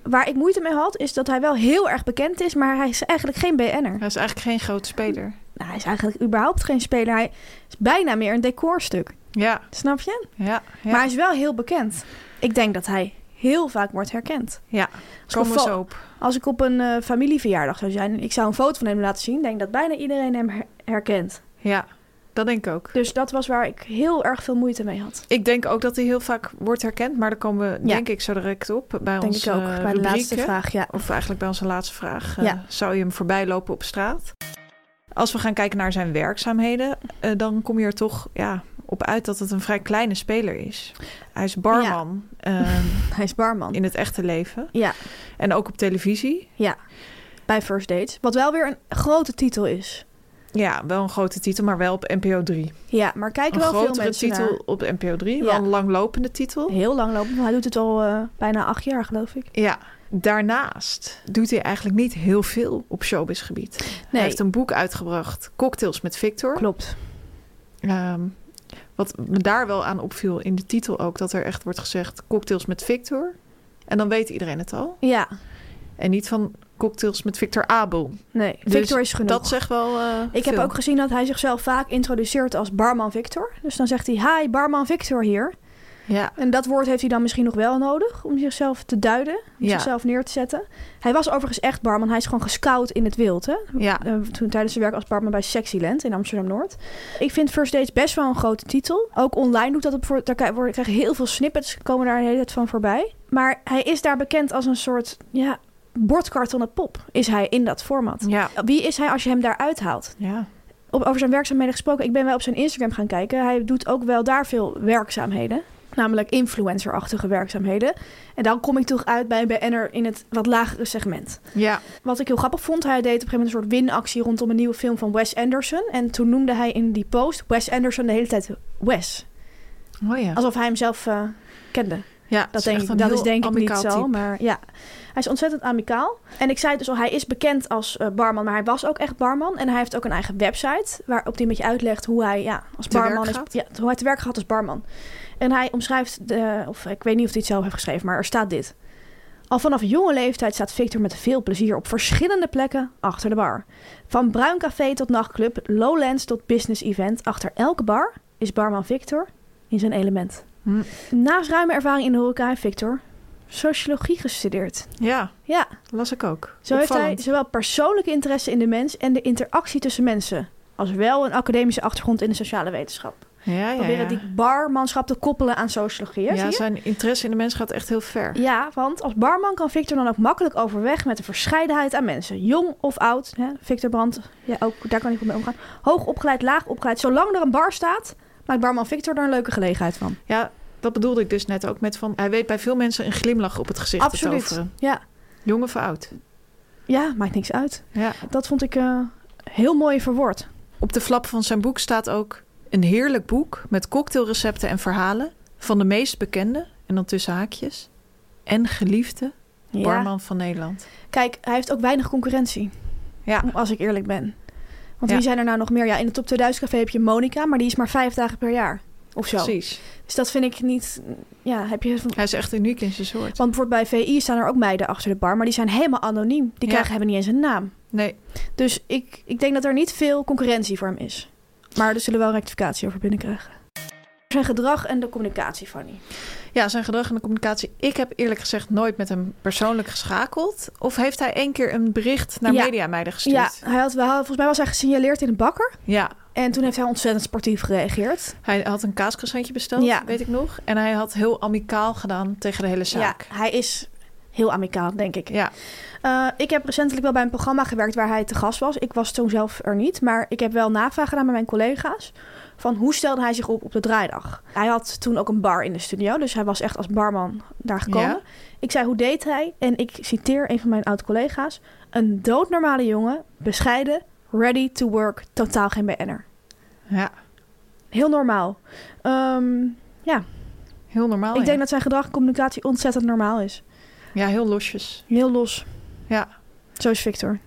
[SPEAKER 2] Waar ik moeite mee had, is dat hij wel heel erg bekend is, maar hij is eigenlijk geen BN'er.
[SPEAKER 1] Hij is eigenlijk geen grote speler.
[SPEAKER 2] Nou, hij is eigenlijk überhaupt geen speler. Hij is bijna meer een decorstuk.
[SPEAKER 1] Ja,
[SPEAKER 2] Snap je?
[SPEAKER 1] ja, ja.
[SPEAKER 2] Maar hij is wel heel bekend. Ik denk dat hij heel vaak wordt herkend.
[SPEAKER 1] ja.
[SPEAKER 2] ik
[SPEAKER 1] Komen we
[SPEAKER 2] een
[SPEAKER 1] zo
[SPEAKER 2] fo-
[SPEAKER 1] op.
[SPEAKER 2] Als ik op een eh, familieverjaardag zou zijn en ik zou een foto van hem laten zien, denk dat bijna iedereen hem her- herkent.
[SPEAKER 1] Ja, dat denk ik ook.
[SPEAKER 2] Dus dat was waar ik heel erg veel moeite mee had.
[SPEAKER 1] Ik denk ook dat hij heel vaak wordt herkend, maar daar komen we
[SPEAKER 2] Ja.
[SPEAKER 1] denk ik zo direct op bij
[SPEAKER 2] Denk
[SPEAKER 1] onze
[SPEAKER 2] ik ook.
[SPEAKER 1] eh,
[SPEAKER 2] bij de laatste
[SPEAKER 1] rubrieken.
[SPEAKER 2] vraag, ja. [LAUGHS]
[SPEAKER 1] Of eigenlijk bij onze laatste vraag. eh,
[SPEAKER 2] Ja.
[SPEAKER 1] zou je hem voorbij lopen op straat? Als we gaan kijken naar zijn werkzaamheden, eh, dan kom je er toch ja, op uit dat het een vrij kleine speler is. Hij is barman
[SPEAKER 2] [LAUGHS]
[SPEAKER 1] eh,
[SPEAKER 2] Hij is barman.
[SPEAKER 1] in het echte leven
[SPEAKER 2] Ja.
[SPEAKER 1] en ook op televisie.
[SPEAKER 2] bij First Dates. Wat wel weer een grote titel is.
[SPEAKER 1] Ja, wel een grote titel, maar wel op NPO 3.
[SPEAKER 2] Ja, maar kijken
[SPEAKER 1] een
[SPEAKER 2] wel veel
[SPEAKER 1] grotere
[SPEAKER 2] mensen
[SPEAKER 1] titel op NPO 3,
[SPEAKER 2] Ja.
[SPEAKER 1] wel een langlopende titel.
[SPEAKER 2] naar. Heel lang lopen, maar hij doet het al eh, bijna acht jaar, geloof ik.
[SPEAKER 1] Ja, daarnaast doet hij eigenlijk niet heel veel op showbizgebied. Hij
[SPEAKER 2] Nee.
[SPEAKER 1] heeft een boek uitgebracht, Cocktails met Victor.
[SPEAKER 2] Klopt.
[SPEAKER 1] Ehm, wat me daar wel aan opviel in de titel ook, dat er echt wordt gezegd Cocktails met Victor. En dan weet iedereen het al.
[SPEAKER 2] Ja,
[SPEAKER 1] En niet van Cocktails met Victor Abel.
[SPEAKER 2] nee.
[SPEAKER 1] Dus
[SPEAKER 2] Victor is genoeg.
[SPEAKER 1] Dat zegt wel. eh,
[SPEAKER 2] Ik
[SPEAKER 1] veel.
[SPEAKER 2] heb ook gezien dat hij zichzelf vaak introduceert als barman Victor. Dus dan zegt hij, hi, barman Victor hier.
[SPEAKER 1] Ja,
[SPEAKER 2] En dat woord heeft hij dan misschien nog wel nodig om zichzelf te duiden, om
[SPEAKER 1] Ja.
[SPEAKER 2] zichzelf neer te zetten. Hij was overigens echt barman, hij is gewoon gescout in het wild, hè?
[SPEAKER 1] ja.
[SPEAKER 2] Eh, toen tijdens zijn werk als barman bij Sexyland in Amsterdam-Noord. Ik vind First Dates best wel een grote titel. Ook online doet dat op voor, daar ki- worden- krijg je heel veel snippets, komen daar de hele tijd van voorbij. Maar hij is daar bekend als een soort, ja, bordkartonnen pop is hij in dat format.
[SPEAKER 1] ja.
[SPEAKER 2] Wie is hij als je hem daar uithaalt?
[SPEAKER 1] ja.
[SPEAKER 2] op, over zijn werkzaamheden gesproken. Ik ben wel op zijn Instagram gaan kijken. Hij doet ook wel daar veel werkzaamheden. Namelijk influencerachtige werkzaamheden. En dan kom ik toch uit bij een BN'er in het wat lagere segment.
[SPEAKER 1] Ja,
[SPEAKER 2] Wat ik heel grappig vond, hij deed op een gegeven moment een soort winactie rondom een nieuwe film van Wes Anderson. En toen noemde hij in die post Wes Anderson de hele tijd Wes.
[SPEAKER 1] oh ja.
[SPEAKER 2] Alsof hij hem zelf eh, kende.
[SPEAKER 1] ja het
[SPEAKER 2] Dat,
[SPEAKER 1] is
[SPEAKER 2] denk,
[SPEAKER 1] echt
[SPEAKER 2] ik-
[SPEAKER 1] een
[SPEAKER 2] dat
[SPEAKER 1] heel
[SPEAKER 2] is denk ik niet
[SPEAKER 1] amicaal
[SPEAKER 2] zo,
[SPEAKER 1] type.
[SPEAKER 2] maar ja. Hij is ontzettend amicaal. En ik zei het dus al, hij is bekend als eh, barman, maar hij was ook echt barman. En hij heeft ook een eigen website waarop hij met je uitlegt hoe hij ja, als
[SPEAKER 1] Te
[SPEAKER 2] barman
[SPEAKER 1] werk
[SPEAKER 2] is,
[SPEAKER 1] gaat?
[SPEAKER 2] ja, hoe hij te werk gaat als barman. En hij omschrijft, de, of ik weet niet of hij het zelf heeft geschreven, maar er staat dit. Al vanaf jonge leeftijd staat Victor met veel plezier op verschillende plekken achter de bar. Van bruin café tot nachtclub, lowlands tot business event, achter elke bar is barman Victor in zijn element.
[SPEAKER 1] Hm.
[SPEAKER 2] Naast ruime ervaring in de horeca heeft Victor sociologie gestudeerd.
[SPEAKER 1] Ja,
[SPEAKER 2] Ja,
[SPEAKER 1] las ik ook.
[SPEAKER 2] zo heeft hij
[SPEAKER 1] Opvallend.
[SPEAKER 2] zowel persoonlijke interesse in de mens en de interactie tussen mensen, als wel een academische achtergrond in de sociale wetenschap.
[SPEAKER 1] Ja, ja,
[SPEAKER 2] Proberen
[SPEAKER 1] ja.
[SPEAKER 2] die barmanschap te koppelen aan sociologie, hè,
[SPEAKER 1] ja,
[SPEAKER 2] zie je?
[SPEAKER 1] zijn interesse in de mens gaat echt heel ver.
[SPEAKER 2] Ja, want als barman kan Victor dan ook makkelijk overweg met de verscheidenheid aan mensen. Jong of oud, hè? Victor Brandt, ja, ook, daar kan ik goed mee omgaan. Hoog opgeleid, laag opgeleid. Zolang er een bar staat, maakt barman Victor er een leuke gelegenheid van.
[SPEAKER 1] Ja, dat bedoelde ik dus net ook met van... Hij weet bij veel mensen een glimlach op het gezicht te
[SPEAKER 2] Absoluut.
[SPEAKER 1] toveren.
[SPEAKER 2] Ja.
[SPEAKER 1] Jong of oud.
[SPEAKER 2] ja, maakt niks uit.
[SPEAKER 1] Ja.
[SPEAKER 2] Dat vond ik eh, heel mooi verwoord.
[SPEAKER 1] Op de flap van zijn boek staat ook... Een heerlijk boek met cocktailrecepten en verhalen... van de meest bekende, en dan tussen haakjes... en geliefde
[SPEAKER 2] Ja.
[SPEAKER 1] barman van Nederland.
[SPEAKER 2] Kijk, hij heeft ook weinig concurrentie,
[SPEAKER 1] Ja,
[SPEAKER 2] als ik eerlijk ben. Want
[SPEAKER 1] Ja.
[SPEAKER 2] wie zijn er nou nog meer? Ja, in de Top 2000 Café heb je Monica, maar die is maar vijf dagen per jaar. Of zo.
[SPEAKER 1] precies.
[SPEAKER 2] Dus dat vind ik niet... Ja, heb je...
[SPEAKER 1] Hij is echt uniek in zijn soort.
[SPEAKER 2] Want bijvoorbeeld bij VI staan er ook meiden achter de bar, maar die zijn helemaal anoniem. Die
[SPEAKER 1] Ja.
[SPEAKER 2] krijgen, hebben niet eens een naam.
[SPEAKER 1] Nee,
[SPEAKER 2] Dus ik, ik denk dat er niet veel concurrentie voor hem is. Maar er zullen wel rectificatie over binnenkrijgen. Zijn gedrag en de communicatie van die.
[SPEAKER 1] ja, zijn gedrag en de communicatie. Ik heb eerlijk gezegd nooit met hem persoonlijk geschakeld. Of heeft hij één keer een bericht naar
[SPEAKER 2] Ja.
[SPEAKER 1] mediameiden
[SPEAKER 2] Ja,
[SPEAKER 1] gestuurd?
[SPEAKER 2] hij had wel, volgens mij was hij gesignaleerd in een bakker.
[SPEAKER 1] ja,
[SPEAKER 2] En toen heeft hij ontzettend sportief gereageerd.
[SPEAKER 1] Hij had een kaaskrasantje besteld,
[SPEAKER 2] Ja.
[SPEAKER 1] weet ik nog. En hij had heel amicaal gedaan tegen de hele zaak.
[SPEAKER 2] Ja, hij is heel amicaal, denk ik.
[SPEAKER 1] Ja,
[SPEAKER 2] Eh, ik heb recentelijk wel bij een programma gewerkt waar hij te gast was. Ik was toen zelf er niet, maar ik heb wel navraag gedaan bij mijn collega's. Van hoe stelde hij zich op op de draaidag? Hij had toen ook een bar in de studio, dus hij was echt als barman daar gekomen.
[SPEAKER 1] Ja.
[SPEAKER 2] Ik zei, hoe deed hij? En ik citeer een van mijn oud-collega's. Een doodnormale jongen, bescheiden, ready to work, totaal geen BN'er.
[SPEAKER 1] ja.
[SPEAKER 2] Heel normaal. Ehm,
[SPEAKER 1] heel normaal.
[SPEAKER 2] ik
[SPEAKER 1] Oh ja.
[SPEAKER 2] denk dat zijn gedrag en communicatie ontzettend normaal is.
[SPEAKER 1] ja, heel losjes.
[SPEAKER 2] Heel los.
[SPEAKER 1] Ja.
[SPEAKER 2] Zo is Victor.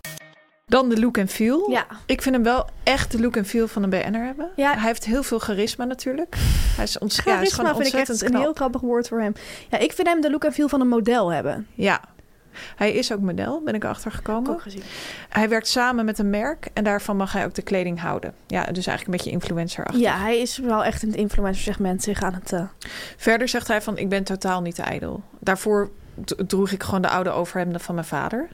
[SPEAKER 1] Dan de look en feel.
[SPEAKER 2] Ja.
[SPEAKER 1] Ik vind hem wel echt de look en feel van een BN'er hebben.
[SPEAKER 2] Ja.
[SPEAKER 1] Hij heeft heel veel charisma natuurlijk. Hij is, ons, ja, hij is
[SPEAKER 2] Charisma
[SPEAKER 1] gewoon
[SPEAKER 2] vind ik
[SPEAKER 1] ontzettend
[SPEAKER 2] echt een
[SPEAKER 1] knap.
[SPEAKER 2] heel grappig woord voor hem. Ja, ik vind hem de look en feel van een model hebben.
[SPEAKER 1] Ja. Hij is ook model, ben ik erachter
[SPEAKER 2] Heb ik
[SPEAKER 1] gekomen.
[SPEAKER 2] ook gezien.
[SPEAKER 1] Hij werkt samen met een merk en daarvan mag hij ook de kleding houden. Ja, dus eigenlijk een beetje influencer achter.
[SPEAKER 2] Ja, hij is wel echt in het influencer segment zich aan het... eh,
[SPEAKER 1] Verder zegt hij van, ik ben totaal niet ijdel. Daarvoor d- droeg ik gewoon de oude overhemden van mijn vader.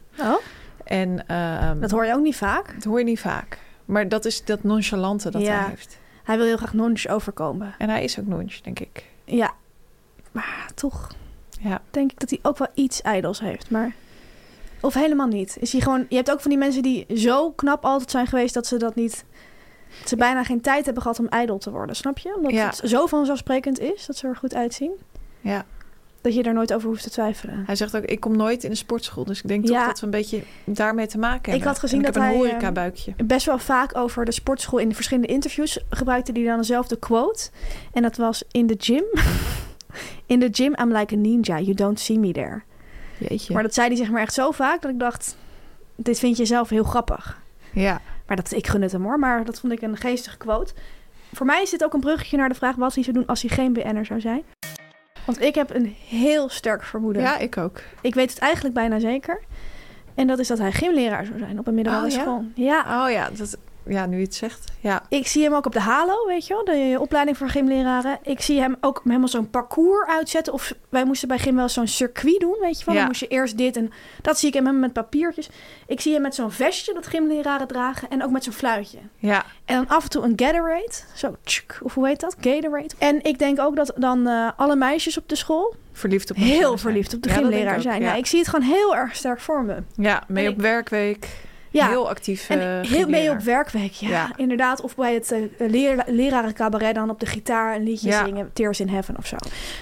[SPEAKER 1] En ehm,
[SPEAKER 2] Dat
[SPEAKER 1] dat,
[SPEAKER 2] hoor je ook niet vaak.
[SPEAKER 1] hoor je niet vaak. Maar dat is dat nonchalante dat
[SPEAKER 2] Ja.
[SPEAKER 1] hij heeft.
[SPEAKER 2] Hij wil heel graag nonch overkomen.
[SPEAKER 1] En hij is ook nonch, denk ik.
[SPEAKER 2] Ja. Maar toch
[SPEAKER 1] Ja.
[SPEAKER 2] denk ik dat hij ook wel iets ijdels heeft. Maar... Of helemaal niet. Is hij gewoon... Je hebt ook van die mensen die zo knap altijd zijn geweest dat ze dat niet... Dat ze bijna geen tijd hebben gehad om ijdel te worden, snap je? Omdat
[SPEAKER 1] Ja.
[SPEAKER 2] het zo vanzelfsprekend is, dat ze er goed uitzien.
[SPEAKER 1] ja.
[SPEAKER 2] Dat je daar nooit over hoeft te twijfelen.
[SPEAKER 1] Hij zegt ook, ik kom nooit in de sportschool. Dus ik denk
[SPEAKER 2] Ja.
[SPEAKER 1] toch dat we een beetje daarmee te maken hebben.
[SPEAKER 2] had gezien
[SPEAKER 1] En ik
[SPEAKER 2] dat
[SPEAKER 1] heb een
[SPEAKER 2] hij, ehm,
[SPEAKER 1] horecabuikje.
[SPEAKER 2] best wel vaak over de sportschool in de verschillende interviews gebruikte die dan dezelfde quote. En [LAUGHS] dat was in the gym. in the gym I'm like a ninja, you don't see me there.
[SPEAKER 1] Jeetje.
[SPEAKER 2] Maar dat zei hij zeg maar echt zo vaak dat ik dacht, dit vind je zelf heel grappig.
[SPEAKER 1] Ja.
[SPEAKER 2] Maar dat, ik gun het hem hoor, maar dat vond ik een geestige quote. Voor mij is dit ook een bruggetje naar de vraag wat hij zou doen als hij geen BN'er zou zijn. Want ik heb een heel sterk vermoeden.
[SPEAKER 1] ja, ik ook.
[SPEAKER 2] Ik weet het eigenlijk bijna zeker. En dat is dat hij gymleraar zou zijn op een middelbare
[SPEAKER 1] Oh, ja?
[SPEAKER 2] school. Ja,
[SPEAKER 1] Oh ja, dat, ja, nu je het zegt. Ja.
[SPEAKER 2] ik zie hem ook op de HALO, weet je wel, de opleiding voor gymleraren. Ik zie hem ook helemaal zo'n parcours uitzetten. Of wij moesten bij gym wel zo'n circuit doen, weet je wel.
[SPEAKER 1] Ja.
[SPEAKER 2] Dan moest je eerst dit en dat zie ik hem met papiertjes. Ik zie hem met zo'n vestje dat gymleraren dragen en ook met zo'n fluitje.
[SPEAKER 1] Ja.
[SPEAKER 2] En dan af en toe een Gatorade, zo tsk, of hoe heet dat? Gatorade. En ik denk ook dat dan eh, alle meisjes op de school
[SPEAKER 1] Verliefd op elkaar
[SPEAKER 2] heel
[SPEAKER 1] zijn.
[SPEAKER 2] verliefd op de
[SPEAKER 1] Ja, dat denk ik
[SPEAKER 2] gymleraar
[SPEAKER 1] ook,
[SPEAKER 2] zijn.
[SPEAKER 1] Ja.
[SPEAKER 2] Ja, ik zie het gewoon heel erg sterk voor me.
[SPEAKER 1] Ja, mee
[SPEAKER 2] En
[SPEAKER 1] op
[SPEAKER 2] ik-
[SPEAKER 1] werkweek.
[SPEAKER 2] Ja.
[SPEAKER 1] Heel actief. eh,
[SPEAKER 2] En heel mee
[SPEAKER 1] gymleraar.
[SPEAKER 2] op werkweek, ja,
[SPEAKER 1] Ja.
[SPEAKER 2] inderdaad. Of bij het eh, leer, lerarencabaret dan op de gitaar een liedje
[SPEAKER 1] Ja.
[SPEAKER 2] zingen. Tears in Heaven of zo.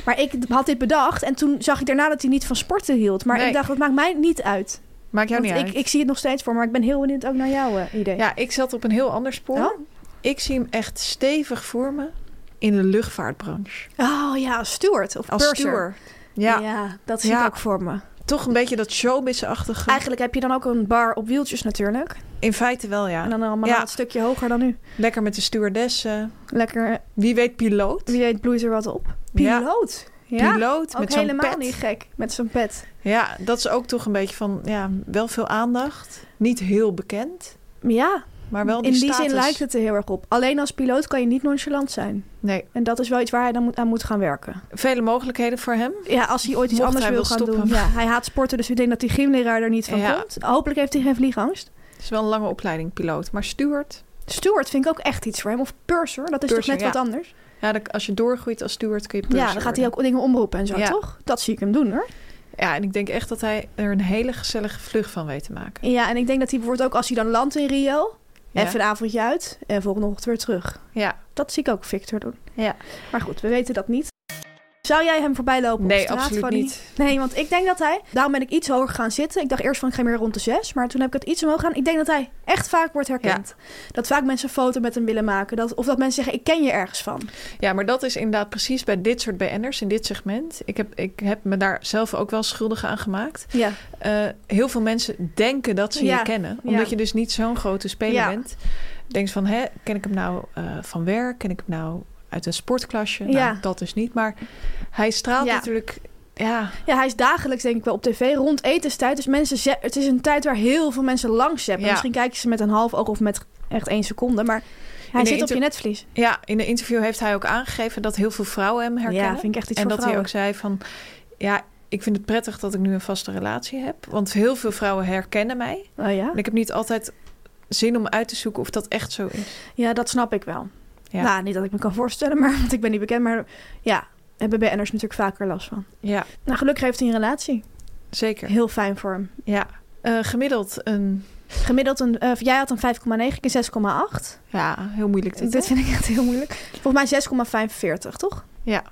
[SPEAKER 2] Maar ik had dit bedacht en toen zag ik daarna dat hij niet van sporten hield. Maar
[SPEAKER 1] Nee.
[SPEAKER 2] ik dacht, dat maakt mij niet uit.
[SPEAKER 1] Maakt jou
[SPEAKER 2] Want
[SPEAKER 1] niet
[SPEAKER 2] ik,
[SPEAKER 1] uit.
[SPEAKER 2] ik zie het nog steeds voor, maar ik ben heel benieuwd ook naar jouw eh, idee.
[SPEAKER 1] Ja, ik zat op een heel ander spoor.
[SPEAKER 2] Oh?
[SPEAKER 1] Ik zie hem echt stevig voor me in de luchtvaartbranche.
[SPEAKER 2] Oh ja, als steward of
[SPEAKER 1] Als
[SPEAKER 2] purser.
[SPEAKER 1] stuur.
[SPEAKER 2] Ja.
[SPEAKER 1] Ja,
[SPEAKER 2] dat zie
[SPEAKER 1] Ja.
[SPEAKER 2] ik ook voor me.
[SPEAKER 1] toch een beetje dat showbiz-achtige.
[SPEAKER 2] Eigenlijk heb je dan ook een bar op wieltjes natuurlijk.
[SPEAKER 1] In feite wel, ja.
[SPEAKER 2] En dan allemaal
[SPEAKER 1] Ja.
[SPEAKER 2] een stukje hoger dan nu.
[SPEAKER 1] Lekker met de stewardessen.
[SPEAKER 2] Lekker, eh,
[SPEAKER 1] Wie weet piloot.
[SPEAKER 2] wie weet bloeit er wat op.
[SPEAKER 1] Ja.
[SPEAKER 2] Piloot. Ja,
[SPEAKER 1] Piloot
[SPEAKER 2] ook
[SPEAKER 1] met zo'n
[SPEAKER 2] helemaal
[SPEAKER 1] pet.
[SPEAKER 2] niet gek met zo'n pet.
[SPEAKER 1] Ja, dat is ook toch een beetje van, ja, wel veel aandacht. Niet heel bekend,
[SPEAKER 2] Ja,
[SPEAKER 1] maar wel
[SPEAKER 2] In
[SPEAKER 1] die
[SPEAKER 2] die zin
[SPEAKER 1] status.
[SPEAKER 2] lijkt het er heel erg op. Alleen als piloot kan je niet nonchalant zijn.
[SPEAKER 1] Nee,
[SPEAKER 2] En dat is wel iets waar hij dan moet, aan moet gaan werken.
[SPEAKER 1] vele mogelijkheden voor hem.
[SPEAKER 2] Ja, als hij ooit iets
[SPEAKER 1] Mocht
[SPEAKER 2] anders
[SPEAKER 1] hij
[SPEAKER 2] wil
[SPEAKER 1] wil
[SPEAKER 2] gaan
[SPEAKER 1] stoppen.
[SPEAKER 2] doen. Ja, hij haat sporten, dus ik denk dat die gymleraar er niet van
[SPEAKER 1] Ja.
[SPEAKER 2] komt. Hopelijk heeft hij geen vliegangst.
[SPEAKER 1] Het is wel een lange opleiding, piloot. Maar steward,
[SPEAKER 2] Steward vind ik ook echt iets voor hem. Of purser, dat is
[SPEAKER 1] Purser,
[SPEAKER 2] toch net
[SPEAKER 1] ja.
[SPEAKER 2] wat anders?
[SPEAKER 1] ja, dan- als je doorgroeit als steward kun je
[SPEAKER 2] ja,
[SPEAKER 1] purser
[SPEAKER 2] dan gaat hij
[SPEAKER 1] worden.
[SPEAKER 2] ook dingen omroepen en zo,
[SPEAKER 1] Ja.
[SPEAKER 2] toch? Dat zie ik hem doen, hoor.
[SPEAKER 1] Ja, en ik denk echt dat hij er een hele gezellige vlucht van weet te maken.
[SPEAKER 2] Ja, en ik denk dat hij bijvoorbeeld ook als hij dan landt in Rio...
[SPEAKER 1] Ja.
[SPEAKER 2] even een avondje uit en volgende ochtend weer terug.
[SPEAKER 1] Ja,
[SPEAKER 2] Dat zie ik ook Victor doen.
[SPEAKER 1] Ja.
[SPEAKER 2] Maar goed, we weten dat niet. Zou jij hem voorbij lopen op
[SPEAKER 1] nee,
[SPEAKER 2] straat,
[SPEAKER 1] absoluut
[SPEAKER 2] Fanny?
[SPEAKER 1] niet.
[SPEAKER 2] Nee, want ik denk dat hij... Daarom ben ik iets hoger gaan zitten. Ik dacht eerst van, ik ga meer rond de zes. Maar toen heb ik het iets omhoog gaan. Ik denk dat hij echt vaak wordt herkend. Dat vaak mensen een foto met hem willen maken. Dat, of dat mensen zeggen, ik ken je ergens van.
[SPEAKER 1] Ja, maar dat is inderdaad precies bij dit soort BN'ers, in dit segment. Ik heb, ik heb me daar zelf ook wel schuldig aan gemaakt.
[SPEAKER 2] Ja.
[SPEAKER 1] Eh, heel veel mensen denken dat ze
[SPEAKER 2] Ja,
[SPEAKER 1] je kennen.
[SPEAKER 2] ja.
[SPEAKER 1] Omdat je dus niet zo'n grote speler
[SPEAKER 2] Ja.
[SPEAKER 1] bent. Denk je van, hè, ken ik hem nou eh, van werk? Ken ik hem nou uit een sportklasje?
[SPEAKER 2] Ja.
[SPEAKER 1] Nou, dat dus niet. Maar hij straalt
[SPEAKER 2] Ja.
[SPEAKER 1] natuurlijk... Ja,
[SPEAKER 2] Ja, hij is dagelijks denk ik wel op tv rond etenstijd. Dus mensen ze- het is een tijd waar heel veel mensen langs hebben.
[SPEAKER 1] Ja.
[SPEAKER 2] Misschien kijken ze met een half oog of met echt één seconde. Maar hij
[SPEAKER 1] de
[SPEAKER 2] zit op
[SPEAKER 1] inter-
[SPEAKER 2] je netvlies.
[SPEAKER 1] ja, in een interview heeft hij ook aangegeven dat heel veel vrouwen hem herkennen.
[SPEAKER 2] Ja, vind ik echt iets
[SPEAKER 1] en
[SPEAKER 2] voor
[SPEAKER 1] dat hij ook
[SPEAKER 2] vrouwen.
[SPEAKER 1] zei van... Ja, ik vind het prettig dat ik nu een vaste relatie heb. Want heel veel vrouwen herkennen mij.
[SPEAKER 2] Oh ja?
[SPEAKER 1] En ik heb niet altijd zin om uit te zoeken of dat echt zo is.
[SPEAKER 2] ja, dat snap ik wel.
[SPEAKER 1] Ja.
[SPEAKER 2] Nou, niet dat ik me kan voorstellen, [LAUGHS] maar, want ik ben niet bekend. Maar ja, hebben BN'ers natuurlijk vaker last van.
[SPEAKER 1] Ja,
[SPEAKER 2] Nou, gelukkig heeft hij een relatie.
[SPEAKER 1] zeker.
[SPEAKER 2] Heel fijn voor hem.
[SPEAKER 1] Ja. Eh, gemiddeld een...
[SPEAKER 2] Gemiddeld een, eh, jij had een 5,9, ik een 6,8.
[SPEAKER 1] Ja, heel moeilijk dit.
[SPEAKER 2] Dit
[SPEAKER 1] hè?
[SPEAKER 2] vind ik echt heel moeilijk. Volgens mij 6,45, toch?
[SPEAKER 1] Ja.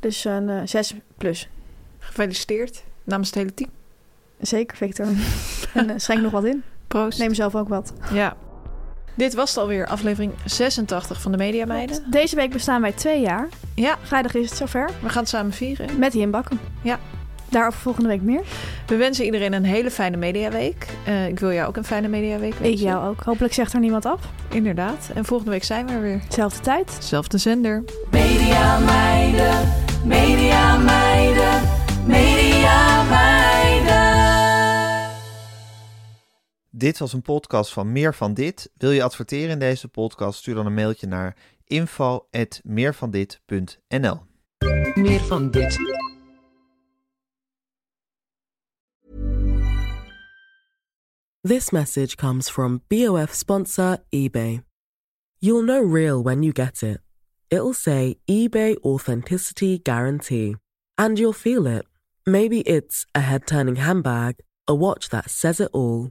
[SPEAKER 2] Dus een eh, 6 plus.
[SPEAKER 1] Gefeliciteerd namens het hele team.
[SPEAKER 2] Zeker,
[SPEAKER 1] [LAUGHS]
[SPEAKER 2] Victor. en eh, schenk nog wat in.
[SPEAKER 1] Proost.
[SPEAKER 2] Neem zelf ook wat.
[SPEAKER 1] Ja. Dit was het alweer, aflevering 86 van de Media Meiden.
[SPEAKER 2] Deze week bestaan wij twee jaar.
[SPEAKER 1] Ja,
[SPEAKER 2] Vrijdag is het zover.
[SPEAKER 1] we gaan het samen vieren.
[SPEAKER 2] Met Jim Bakken.
[SPEAKER 1] Ja.
[SPEAKER 2] Daarover volgende week meer.
[SPEAKER 1] We wensen iedereen een hele fijne mediaweek. Eh, ik wil jou ook een fijne mediaweek wensen.
[SPEAKER 2] Ik jou ook. Hopelijk zegt er niemand af.
[SPEAKER 1] Inderdaad. En volgende week zijn we er weer.
[SPEAKER 2] Zelfde tijd.
[SPEAKER 1] Zelfde zender.
[SPEAKER 3] Media meiden, media meiden, media meiden.
[SPEAKER 4] Dit was een podcast van Meer van Dit. Wil je adverteren in deze podcast? Stuur dan een mailtje naar info.meervandit.nl
[SPEAKER 5] Meer van dit. This message comes from BOF sponsor eBay. You'll know real when you get it. It'll say eBay Authenticity Guarantee. And you'll feel it. Maybe it's a head turning handbag, a watch that says it all,